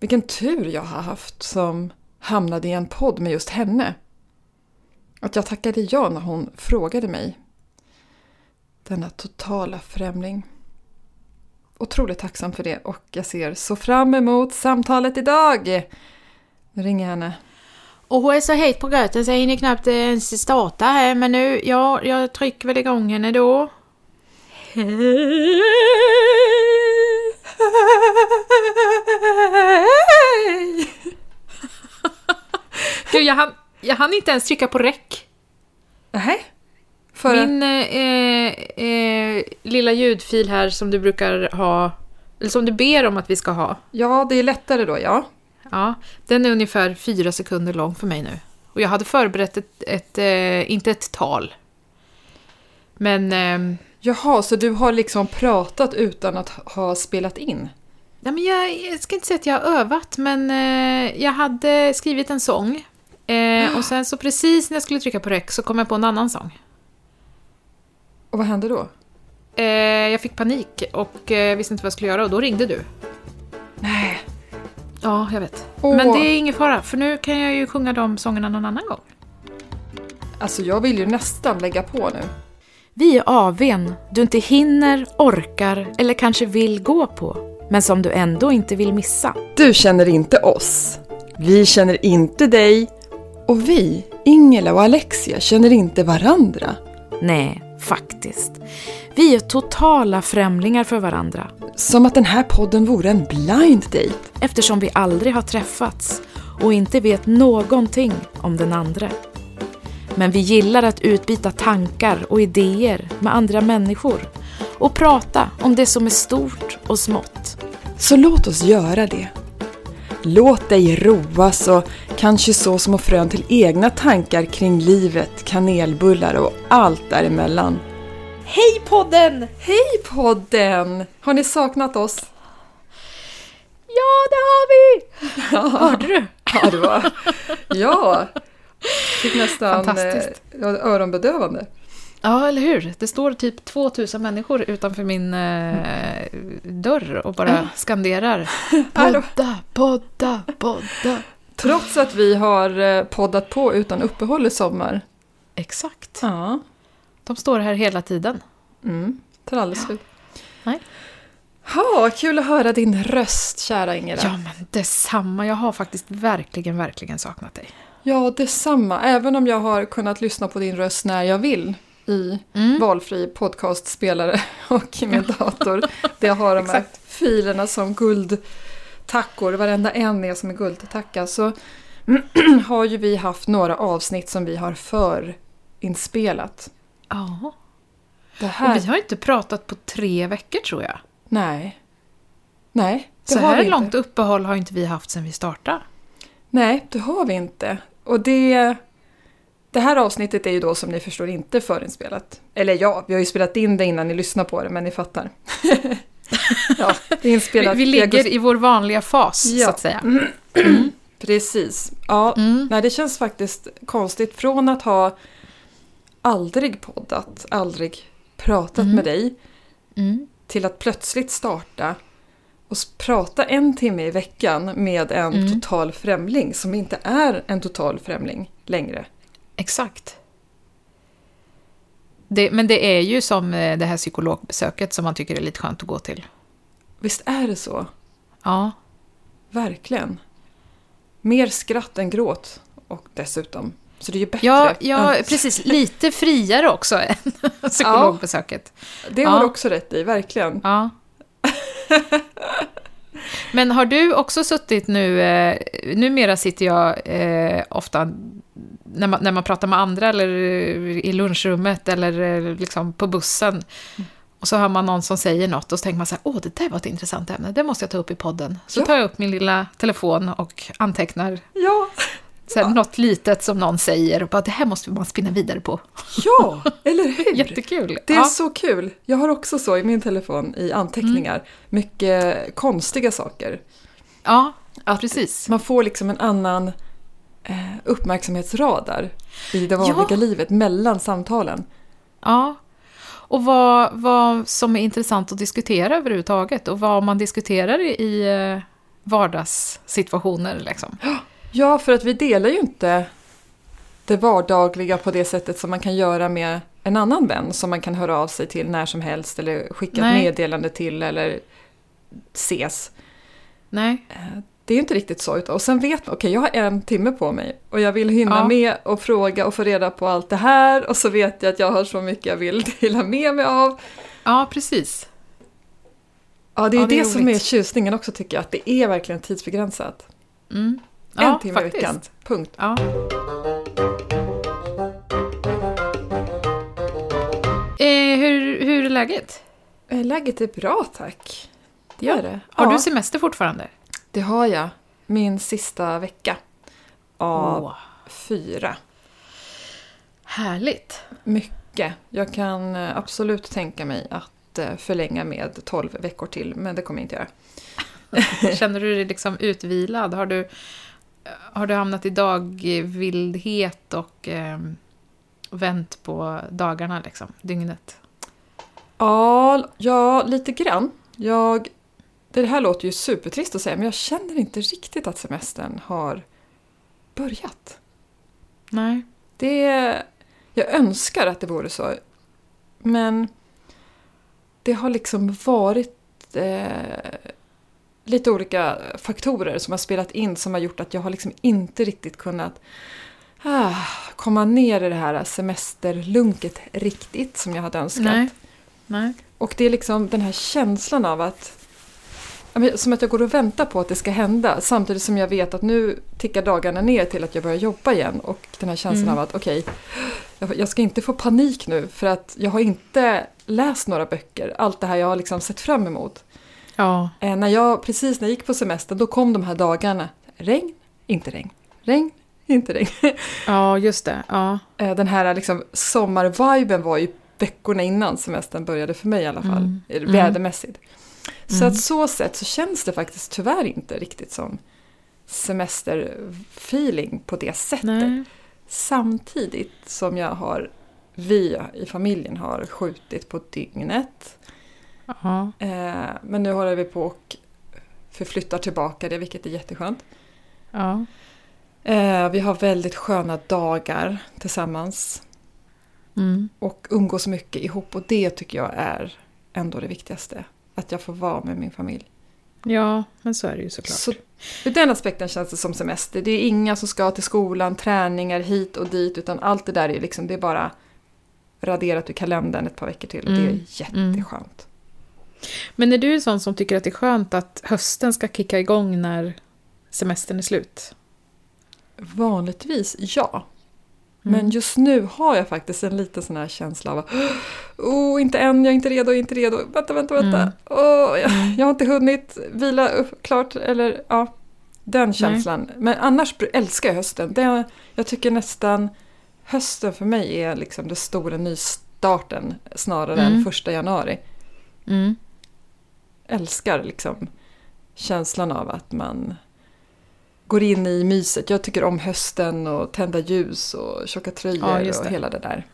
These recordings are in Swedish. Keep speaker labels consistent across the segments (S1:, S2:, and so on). S1: Vilken tur jag har haft som hamnade i en podd med just henne. Att jag tackade ja när hon frågade mig. Denna totala främling. Otroligt tacksam för det och jag ser så fram emot samtalet idag! Nu ringer jag henne.
S2: Och hon är så het på gröten så jag hinner knappt eh, ens starta här men nu, ja, jag trycker väl igång henne då.
S1: Hej!
S2: Gud, jag hann, jag hann inte ens trycka på räck.
S1: Nej. För att-
S2: Min eh, eh, eh, lilla ljudfil här som du brukar ha, eller som du ber om att vi ska ha.
S1: Ja, det är lättare då, ja.
S2: Ja, den är ungefär fyra sekunder lång för mig nu. Och jag hade förberett ett, ett eh, inte ett tal. Men, ehm,
S1: Jaha, så du har liksom pratat utan att ha spelat in?
S2: nej men jag, jag ska inte säga att jag har övat, men eh, jag hade skrivit en sång. Eh, och sen så precis när jag skulle trycka på rec så kom jag på en annan sång.
S1: Och vad hände då?
S2: Eh, jag fick panik och eh, visste inte vad jag skulle göra och då ringde du.
S1: Nej.
S2: Ja, jag vet.
S1: Åh.
S2: Men det är ingen fara, för nu kan jag ju sjunga de sångerna någon annan gång.
S1: Alltså, jag vill ju nästan lägga på nu.
S2: Vi är AWn du inte hinner, orkar eller kanske vill gå på, men som du ändå inte vill missa.
S1: Du känner inte oss. Vi känner inte dig. Och vi, Ingela och Alexia, känner inte varandra.
S2: Nej, faktiskt. Vi är totala främlingar för varandra,
S1: Som att den här podden vore en blind date.
S2: eftersom vi aldrig har träffats och inte vet någonting om den andra. Men vi gillar att utbyta tankar och idéer med andra människor och prata om det som är stort och smått.
S1: Så låt oss göra det. Låt dig roas och kanske så små frön till egna tankar kring livet, kanelbullar och allt däremellan.
S2: Hej podden!
S1: Hej podden! Har ni saknat oss?
S2: Ja, det har vi! Hörde du?
S1: Ja, det var... Ja! Fick nästan
S2: Fantastiskt.
S1: eh, öronbedövande.
S2: Ja, eller hur? Det står typ 2000 människor utanför min eh, dörr och bara skanderar. Podda, podda, podda.
S1: Trots att vi har eh, poddat på utan uppehåll i sommar.
S2: Exakt.
S1: Ja.
S2: De står här hela tiden.
S1: Mm, tar aldrig slut.
S2: Nej.
S1: Ha, kul att höra din röst, kära Ingela.
S2: Ja, men detsamma. Jag har faktiskt verkligen, verkligen saknat dig.
S1: ja, detsamma. Även om jag har kunnat lyssna på din röst när jag vill i
S2: Mm.
S1: valfri podcastspelare och i min dator. Det har de här filerna som guldtackor, varenda en är som en guldtacka. Så har ju vi haft några avsnitt som vi har förinspelat.
S2: Ja.
S1: Det här...
S2: Och vi har inte pratat på tre veckor, tror jag.
S1: Nej. Nej, det
S2: Så
S1: har vi
S2: här
S1: inte.
S2: långt uppehåll har inte vi haft sedan vi startade.
S1: Nej, det har vi inte. Och det, det här avsnittet är ju då som ni förstår inte förinspelat. Eller ja, vi har ju spelat in det innan ni lyssnar på det, men ni fattar. ja, det är
S2: Vi,
S1: inspelat
S2: vi
S1: i
S2: ligger
S1: augusti.
S2: i vår vanliga fas,
S1: Ja.
S2: så att säga. Mm.
S1: Precis. Ja, nej, det känns faktiskt konstigt. Från att ha aldrig poddat, aldrig pratat med dig,
S2: Mm.
S1: till att plötsligt starta och s- prata en timme i veckan med en
S2: Mm.
S1: total främling som inte är en total främling längre.
S2: Exakt. Det, men det är ju som eh, det här psykologbesöket som man tycker är lite skönt att gå till.
S1: Visst är det så?
S2: Ja,
S1: Verkligen. Mer skratt än gråt. Och dessutom. Så det är ju bättre.
S2: ja, ja
S1: än-
S2: precis. Lite friare också än psykologbesöket.
S1: Det har
S2: ja.
S1: du också rätt i, verkligen.
S2: Ja. Men har du också suttit nu, eh, numera sitter jag eh, ofta när man, när man pratar med andra eller eh, i lunchrummet eller eh, liksom på bussen och så hör man någon som säger något och så tänker man så här, åh det där var ett intressant ämne, det måste jag ta upp i podden. Så
S1: Ja.
S2: tar jag upp min lilla telefon och antecknar
S1: Ja,
S2: så här, något litet som någon säger och bara, det här måste man spinna vidare på.
S1: ja eller hur?
S2: Jättekul!
S1: Det är
S2: ja.
S1: så kul. Jag har också så i min telefon i anteckningar.
S2: Mm.
S1: Mycket konstiga saker.
S2: ja,
S1: Att
S2: precis.
S1: Man får liksom en annan eh, uppmärksamhetsradar i det vanliga
S2: Ja.
S1: livet mellan samtalen.
S2: Ja. Och vad, vad som är intressant att diskutera överhuvudtaget och vad man diskuterar i, eh, vardagssituationer. Liksom.
S1: Ja, för att vi delar ju inte det vardagliga på det sättet som man kan göra med en annan vän som man kan höra av sig till när som helst eller skicka
S2: Nej.
S1: ett meddelande till eller ses.
S2: Nej.
S1: Det är ju inte riktigt så. utan- Och sen vet man, okej jag har en timme på mig och jag vill hinna
S2: Ja.
S1: med och fråga och få reda på allt det här och så vet jag att jag har så mycket jag vill dela med mig av.
S2: Ja, precis.
S1: Ja, det är
S2: Ja,
S1: det,
S2: det är
S1: som är
S2: roligt.
S1: tjusningen också tycker jag, att det är verkligen tidsbegränsat.
S2: Mm.
S1: En
S2: Ja,
S1: timme i veckan, punkt.
S2: Ja. Eh, hur, hur är läget?
S1: Eh, Läget är bra tack. Det
S2: Ja.
S1: är det.
S2: Har
S1: Ja.
S2: du semester fortfarande?
S1: Det har jag. Min sista vecka av
S2: Åh,
S1: fyra.
S2: härligt.
S1: Mycket. Jag kan eh, absolut tänka mig att eh, förlänga med 12 veckor till, men det kommer jag inte göra.
S2: Känner du dig liksom utvilad? Har du, har du hamnat i dagvildhet och eh, vänt på dagarna, liksom, dygnet?
S1: Ja, ja lite grann. Jag, det här låter ju supertrist att säga, men jag känner inte riktigt att semestern har börjat.
S2: Nej.
S1: Det, jag önskar att det vore så. Men det har liksom varit eh, lite olika faktorer som har spelat in som har gjort att jag har liksom inte riktigt kunnat ah, komma ner i det här semesterlunket riktigt som jag hade önskat.
S2: Nej. Nej.
S1: Och det är liksom den här känslan av att ja, men som att jag går och väntar på att det ska hända samtidigt som jag vet att nu tickar dagarna ner till att jag börjar jobba igen och den här känslan
S2: Mm.
S1: av att okej, jag- jag ska inte få panik nu för att jag har inte läst några böcker, allt det här jag har liksom sett fram emot.
S2: Ja.
S1: Eh, när jag, precis när jag gick på semestern, då kom de här dagarna, regn, inte regn, regn, inte regn.
S2: ja, just det. Ja.
S1: Eh, Den här liksom sommarviben var ju veckorna innan semestern började för mig i alla fall,
S2: Mm.
S1: eh,
S2: Mm.
S1: vädermässigt. Så
S2: Mm.
S1: att så sett så känns det faktiskt tyvärr inte riktigt som semesterfeeling på det sättet.
S2: Nej.
S1: Samtidigt som jag har, vi i familjen har skjutit på dygnet.
S2: Ja.
S1: Eh, men nu håller vi på och förflyttar tillbaka det, vilket är jätteskönt.
S2: Ja.
S1: Eh, vi har väldigt sköna dagar tillsammans.
S2: Mm.
S1: och umgås mycket ihop och det tycker jag är ändå det viktigaste. Att jag får vara med min familj.
S2: ja, men så är det ju såklart.
S1: Så ur den aspekten känns det som semester. Det är inga som ska till skolan, träningar hit och dit utan allt det där är liksom, det är bara raderat ur kalendern ett par veckor till och det
S2: Mm,
S1: är jätteskönt.
S2: Men är du en sån som tycker att det är skönt att hösten ska kicka igång när semestern är slut?
S1: Vanligtvis ja,
S2: Mm.
S1: men just nu har jag faktiskt en liten sån här känsla av oh, inte än, jag är inte redo, jag är inte redo, vänta, vänta, vänta,
S2: Mm.
S1: Åh, jag, jag har inte hunnit vila upp klart, eller ja, den känslan. Men annars br- älskar jag hösten. Det, jag tycker nästan hösten för mig är liksom den stora nystarten snarare
S2: Mm.
S1: än första januari.
S2: Mm.
S1: Älskar liksom känslan av att man går in i myset. Jag tycker om hösten och tända ljus och tjocka
S2: Ja,
S1: tröjor
S2: just
S1: och
S2: det.
S1: hela det där.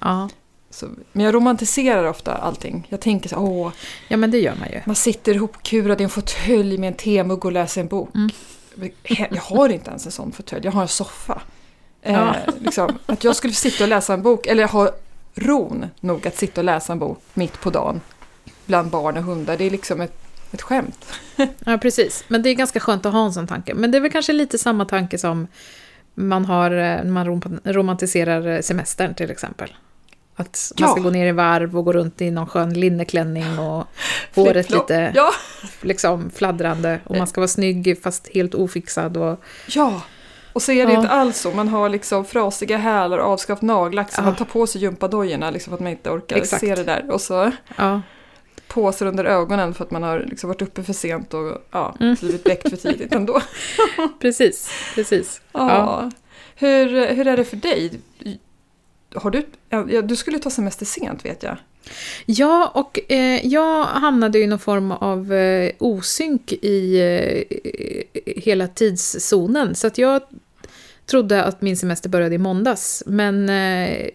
S2: Ja.
S1: Så, men jag romantiserar ofta allting. Jag tänker så här, åh,
S2: ja, men det gör man ju.
S1: man sitter ihopkurad i en fåtölj med en temugg och läser en bok.
S2: Mm.
S1: He- Jag har inte ens en sån fåtölj, jag har en soffa.
S2: Ja.
S1: Eh, liksom, att jag skulle sitta och läsa en bok, eller ha ron nog att sitta och läsa en bok mitt på dagen bland barn och hundar, det är liksom ett, ett skämt.
S2: Ja, precis. Men det är ganska skönt att ha en sån tanke. Men det är väl kanske lite samma tanke som man har eh, när man rom- romantiserar eh, semestern till exempel. Att man
S1: Ja.
S2: ska gå ner i varv och gå runt i någon skön linneklänning och håret
S1: Flip-flop.
S2: lite
S1: Ja,
S2: liksom, fladdrande. Och man ska vara snygg fast helt ofixad. Och,
S1: ja. Och så är det
S2: Ja.
S1: inte alls så, man har liksom frasiga hälar och avskaffat nagellack så
S2: Ja.
S1: man tar på sig gympadojorna liksom för att man inte orkar
S2: Exakt.
S1: se det där. Och så
S2: ja.
S1: påsar under ögonen för att man har liksom varit uppe för sent och ja,
S2: Mm.
S1: blivit väckt för tidigt ändå.
S2: Precis, precis.
S1: Ja.
S2: Ja.
S1: Hur, hur är det för dig? Har du, ja, du skulle ta semester sent vet jag.
S2: Ja, och eh, jag hamnade i någon form av eh, osynk i eh, hela tidszonen. Så att jag trodde att min semester började i måndags, men eh,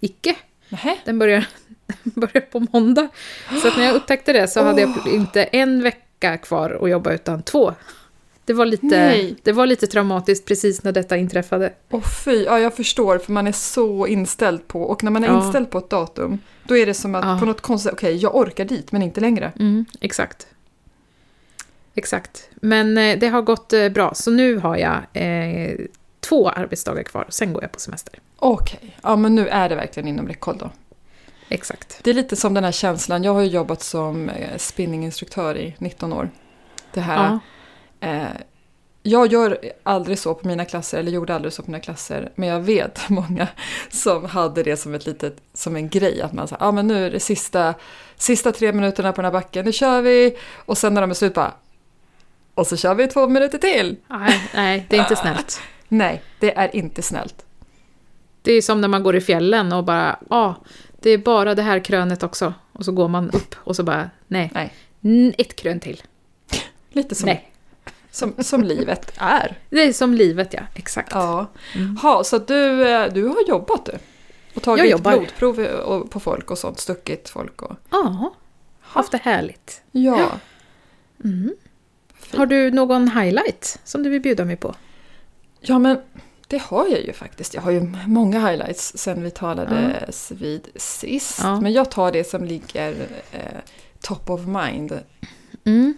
S2: icke.
S1: Nähä?
S2: Den börjar, den börjar på måndag. Så att när jag upptäckte det så hade jag inte en vecka vecka kvar att jobba utan två. Det var lite,
S1: Nej.
S2: det var lite traumatiskt precis när detta inträffade.
S1: Åh fy, ja jag förstår för man är så inställd på, och när man är
S2: Ja.
S1: inställd på ett datum, då är det som att
S2: Ja.
S1: på något konstigt, okej jag orkar dit men inte längre.
S2: Mm, exakt. Exakt. Men eh, det har gått eh, bra, så nu har jag eh, två arbetsdagar kvar, sen går jag på semester.
S1: Okej, ja men nu är det verkligen inom räckhåll då.
S2: Exakt.
S1: Det är lite som den här känslan, jag har ju jobbat som eh, spinninginstruktör i 19 år. Det här
S2: Ja.
S1: Eh, jag gör aldrig så på mina klasser, eller gjorde aldrig så på mina klasser, men jag vet många som hade det som, ett litet, som en grej, att man sa, ah, men nu är det sista, sista tre minuterna på den här backen, nu kör vi! Och sen när de är slut bara, och så kör vi två minuter till!
S2: Nej, nej, det är inte snällt.
S1: Nej, det är inte snällt.
S2: Det är som när man går i fjällen och bara, ja, ah, det är bara det här krönet också. Och så går man upp och så bara, nej,
S1: Nej,
S2: n- ett krön till.
S1: lite som,
S2: Nej.
S1: som, som livet är. Mm.
S2: Det är som livet, ja. Exakt.
S1: Ja. Ha, så att du, eh, du har jobbat du? Och
S2: Jag
S1: tagit
S2: jobbar.
S1: blodprov eh, och- på folk och sånt, stuckit folk och...
S2: Ja, haft det härligt.
S1: Ja.
S2: Har du någon highlight som du vill bjuda mig på?
S1: Ja, men det har jag ju faktiskt. Jag har ju många highlights sen vi talades vid sist.
S2: Ja.
S1: Men jag tar det som ligger eh, top of mind,
S2: Mm.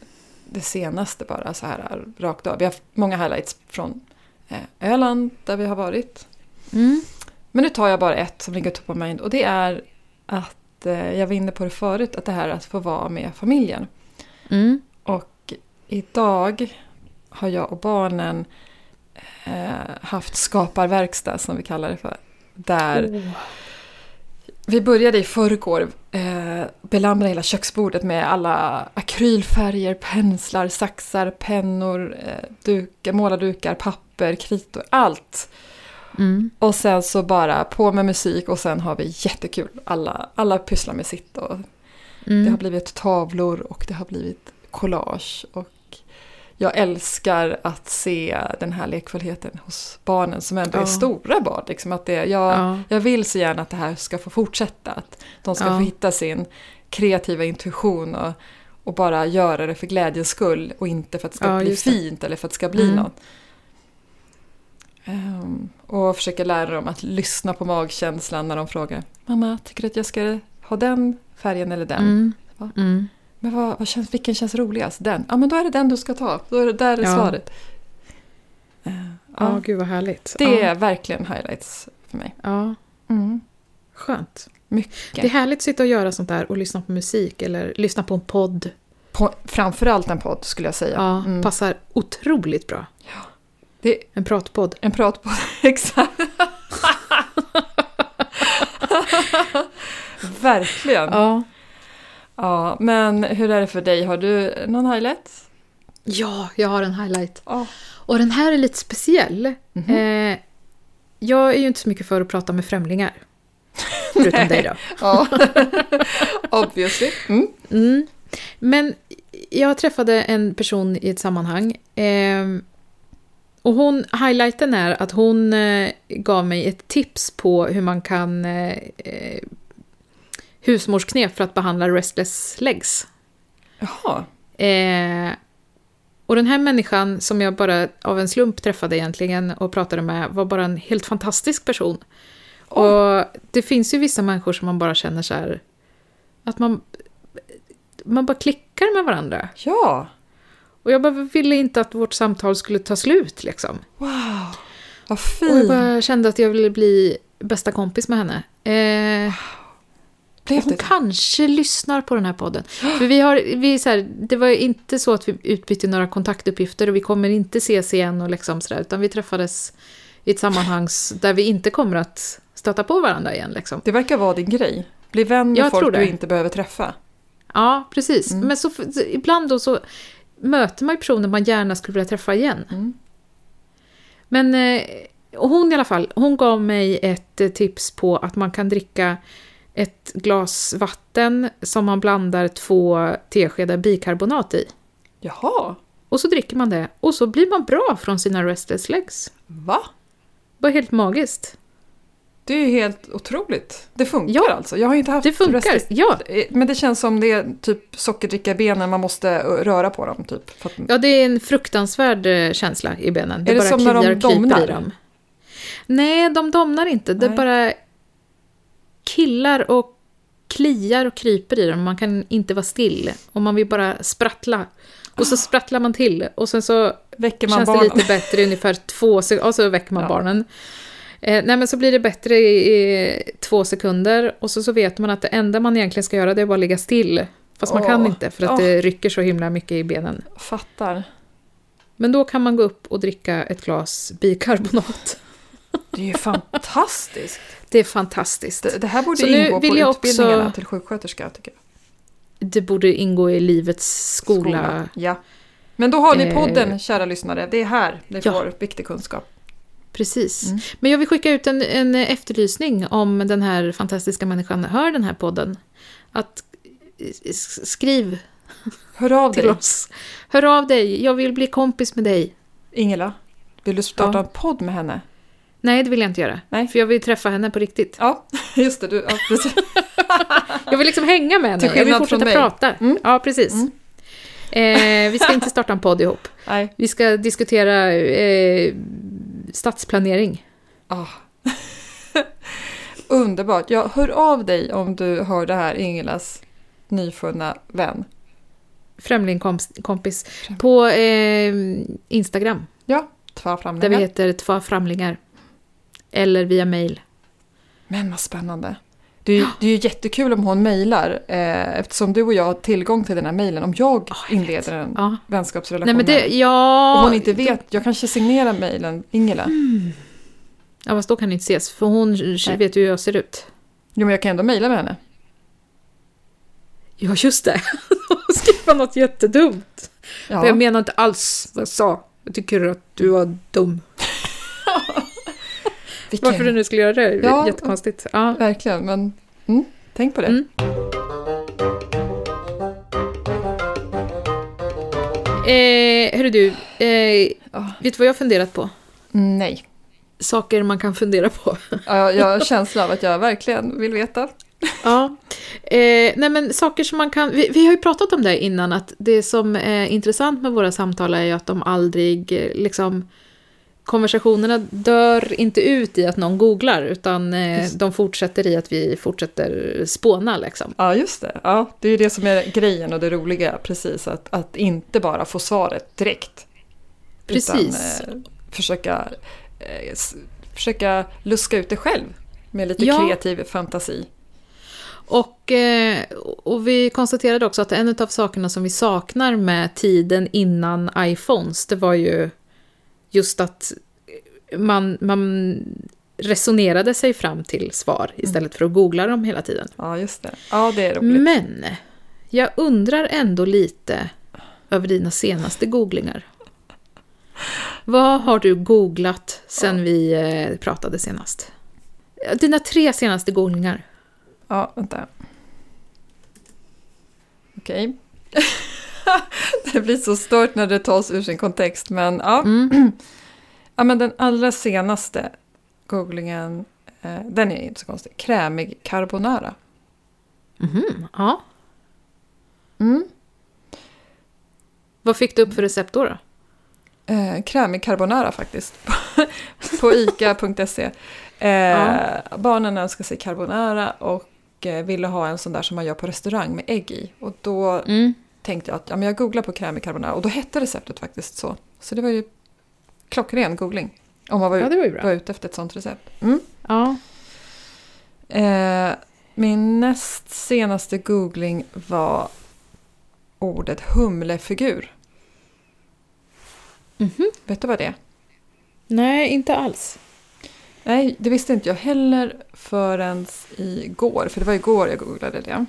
S1: det senaste bara så här rakt av. Vi har haft många highlights från eh, Öland där vi har varit.
S2: Mm.
S1: Men nu tar jag bara ett som ligger top of mind och det är att, eh, jag var inne på det förut, att det här att få vara med familjen.
S2: Mm.
S1: Och idag har jag och barnen eh, haft skaparverkstad som vi kallar det för. Där
S2: Oh.
S1: vi började i förrgår eh, belamra hela köksbordet med alla akrylfärger, penslar, saxar, pennor, eh, dukar, målardukar, papper, kritor, allt.
S2: Mm.
S1: Och sen så bara på med musik och sen har vi jättekul. Alla, alla pysslar med sitt och
S2: Mm.
S1: det har blivit tavlor och det har blivit collage. Och jag älskar att se den här lekfullheten hos barnen som ändå är
S2: Ja.
S1: stora barn. Liksom att det, jag,
S2: Ja.
S1: jag vill så gärna att det här ska få fortsätta. Att de ska
S2: Ja.
S1: få hitta sin kreativa intuition och, och bara göra det för glädjens skull och inte för att det ska
S2: Ja,
S1: bli
S2: just det.
S1: fint eller för att det ska bli
S2: Mm.
S1: något. Ehm, och försöka lära dem att lyssna på magkänslan när de frågar Mamma, tycker du att jag ska ha den färgen eller den?
S2: Mm.
S1: Va?
S2: Mm.
S1: Men vad, vad känns, vilken känns roligast? Den? Ja, men då är det den du ska ta. Då är det där är
S2: Ja.
S1: svaret. Eh,
S2: Ja,
S1: ja,
S2: gud vad härligt.
S1: det
S2: Ja.
S1: är verkligen highlights för mig.
S2: ja, skönt.
S1: Mycket.
S2: Det är härligt att sitta och göra sånt där och lyssna på musik eller lyssna på en podd.
S1: På, framförallt en podd skulle jag säga.
S2: Ja,
S1: Mm.
S2: Passar otroligt bra.
S1: Det är
S2: En pratpodd.
S1: en pratpodd, exakt. verkligen. Ja.
S2: Ja.
S1: men hur är det för dig? Har du någon highlight?
S2: ja, jag har en highlight.
S1: Ja.
S2: Och den här är lite speciell.
S1: Mhm.
S2: Eh, jag är ju inte så mycket för att prata med främlingar. Förutom dig då.
S1: Ja, obviously. Mm.
S2: Mm. Men jag träffade en person i ett sammanhang. ehm, och hon, highlighten är att hon eh, gav mig ett tips på hur man kan eh, eh, husmorsknep för att behandla restless legs.
S1: Jaha.
S2: Eh, och den här människan som jag bara av en slump träffade egentligen och pratade med var bara en helt fantastisk person. Och det finns ju vissa människor som man bara känner så här att man, man bara klickar med varandra.
S1: Ja,
S2: Och jag bara ville inte att vårt samtal skulle ta slut liksom.
S1: wow. Vad
S2: Och jag
S1: fint.
S2: bara kände att jag ville bli bästa kompis med henne. Eh,
S1: Blev
S2: Hon
S1: det
S2: kanske lyssnar på den här podden. För vi har, vi är så här, det var ju inte så att vi utbytte några kontaktuppgifter och vi kommer inte ses igen och liksom sådär, utan vi träffades i ett sammanhang s- där vi inte kommer att stöta på varandra igen. Liksom.
S1: Det verkar vara din grej. Bli vän med
S2: Jag tror
S1: folk du
S2: det.
S1: inte behöver träffa.
S2: Ja, precis. Men så, så ibland då så möter man ju personer man gärna skulle vilja träffa igen.
S1: Mm.
S2: Men eh, och hon i alla fall, hon gav mig ett eh, tips på att man kan dricka ett glas vatten som man blandar två teskedar bikarbonat i.
S1: Jaha,
S2: Och så dricker man det och så blir man bra från sina restless legs.
S1: va?
S2: Bara helt magiskt.
S1: Du Det är ju helt otroligt. Det funkar
S2: Ja,
S1: alltså. Jag har ju inte haft
S2: Det funkar,
S1: resist-
S2: ja.
S1: Men det känns som det är typ sockerdricka i benen, man måste ö, röra på dem typ. För att,
S2: Ja, det är en fruktansvärd eh, känsla i benen. Det
S1: Är det
S2: bara
S1: som när
S2: kliar
S1: de
S2: och kryper
S1: domnar?
S2: i dem. Nej, de domnar inte. Det
S1: Nej.
S2: bara killar och kliar och kryper i dem. Man kan inte vara still. Och man vill bara sprattla. Och
S1: Ah.
S2: så sprattlar man till. Och sen så
S1: väcker man
S2: känns
S1: barnen.
S2: det lite bättre i ungefär två sekunder. Och så väcker man
S1: Ja.
S2: barnen. Eh, nej, men så blir det bättre i, i två sekunder. Och så, så vet man att det enda man egentligen ska göra det är bara ligga still. Fast man kan
S1: Åh.
S2: inte för att
S1: Åh.
S2: det rycker så himla mycket i benen.
S1: Fattar.
S2: Men då kan man gå upp och dricka ett glas bikarbonat.
S1: Det är ju fantastiskt.
S2: Det är fantastiskt.
S1: Det, det här borde
S2: Så nu
S1: ingå på
S2: vill jag också-
S1: utbildningarna till sjuksköterska tycker jag.
S2: Det borde ingå i livets skola.
S1: Ja. Men då har ni
S2: Eh.
S1: podden, kära lyssnare. Det är här ni
S2: Ja.
S1: får viktig kunskap.
S2: Precis.
S1: Mm.
S2: Men jag vill skicka ut en, en efterlysning om den här fantastiska människan hör den här podden. Att eh, s- skriv
S1: Hör av
S2: till
S1: dig,
S2: oss. Hör av dig, jag vill bli kompis med dig.
S1: Ingela. Vill du starta
S2: Ja.
S1: en podd med henne?
S2: Nej, det vill jag inte göra.
S1: Nej.
S2: För jag vill träffa henne på riktigt.
S1: Ja, just det. Du, ja, precis.
S2: Jag vill liksom hänga med
S1: Till
S2: henne. Jag vill
S1: skillnad
S2: fortsätta
S1: från mig.
S2: prata.
S1: Mm.
S2: Ja, precis.
S1: Mm.
S2: Eh, vi ska inte starta en podd ihop.
S1: Nej.
S2: Vi ska diskutera eh, stadsplanering.
S1: Ah. Underbart. Ja, hör av dig om du hör det här, Ingelas nyfunna vän.
S2: Främlingkompis på eh, Instagram,
S1: Ja, ta
S2: där
S1: fram
S2: vi
S1: den.
S2: heter Två framlingar. Eller via mail.
S1: Men vad spännande. Det är, ju, det är ju jättekul om hon mejlar eh, eftersom du och jag har tillgång till den här mejlen. Om jag
S2: jag vet.
S1: inleder en
S2: Ja.
S1: vänskapsrelation
S2: Nej, men
S1: med
S2: det,
S1: henne.
S2: ja, Mm.
S1: och hon inte vet, jag kanske signerar mejlen Ingela.
S2: ja, fast då kan ni inte ses, för hon
S1: Nej.
S2: vet ju hur jag ser ut.
S1: Jo men jag kan ändå mejla med henne.
S2: Ja, just det. Skriva något jättedumt.
S1: Ja.
S2: Men Jag menar inte alls vad jag sa. Jag tycker att du var dum.
S1: Vilken-
S2: Varför du nu skulle göra det?
S1: Ja.
S2: Jättekonstigt. Ja.
S1: Verkligen, men mm, tänk på det.
S2: Mm. Eh, hörru du, eh,
S1: Ja.
S2: vet du vad jag har funderat på? Mm.
S1: Nej,
S2: Saker man kan fundera på.
S1: jag, jag har känsla av att jag verkligen vill veta.
S2: ja. eh, nej men saker som man kan... Vi, vi har ju pratat om det innan, att det som är intressant med våra samtal är ju att de aldrig eh, liksom... Konversationerna dör inte ut i att någon googlar, utan eh,
S1: Just.
S2: de fortsätter i att vi fortsätter spåna liksom.
S1: Ja, just det. Ja, det är ju det som är grejen och det roliga, precis. Att, att inte bara få svaret direkt.
S2: Precis.
S1: Utan, eh, försöka, eh, s- försöka luska ut det själv med lite
S2: Ja.
S1: kreativ fantasi.
S2: Och, eh, och vi konstaterade också att en av sakerna som vi saknar med tiden innan iPhones, det var ju just att man, man resonerade sig fram till svar istället för att googla dem hela tiden.
S1: Ja, just det. Ja, det är roligt.
S2: Men jag undrar ändå lite över dina senaste googlingar. Vad har du googlat sen vi eh, pratade senast? Dina tre senaste googlingar.
S1: Ja, vänta. Okej. det blir så stört när det tas ur sin kontext, men ja. ja men den allra senaste googlingen, eh, den är inte så konstig, krämig carbonara.
S2: Mhm, ja.
S1: Mm.
S2: Vad fick du upp för recept då? då?
S1: Eh, krämig carbonara faktiskt, på ica.se. Eh,
S2: Ja.
S1: Barnen önskade sig carbonara och eh, ville ha en sån där som man gör på restaurang med ägg i. Och då
S2: Mm.
S1: tänkte jag att ja, men jag googlar på krämig carbonara och då hette receptet faktiskt så. Så det var ju klockren googling. Om man var,
S2: Ja,
S1: ut,
S2: det var ju
S1: var
S2: bra.
S1: ute efter ett sånt recept. Mm.
S2: Ja.
S1: Eh, min näst senaste googling var ordet humlefigur. Vet du vad det är?
S2: Mhm. Nej, inte alls.
S1: Nej, det visste inte jag heller förrän igår. För det var igår jag googlade det.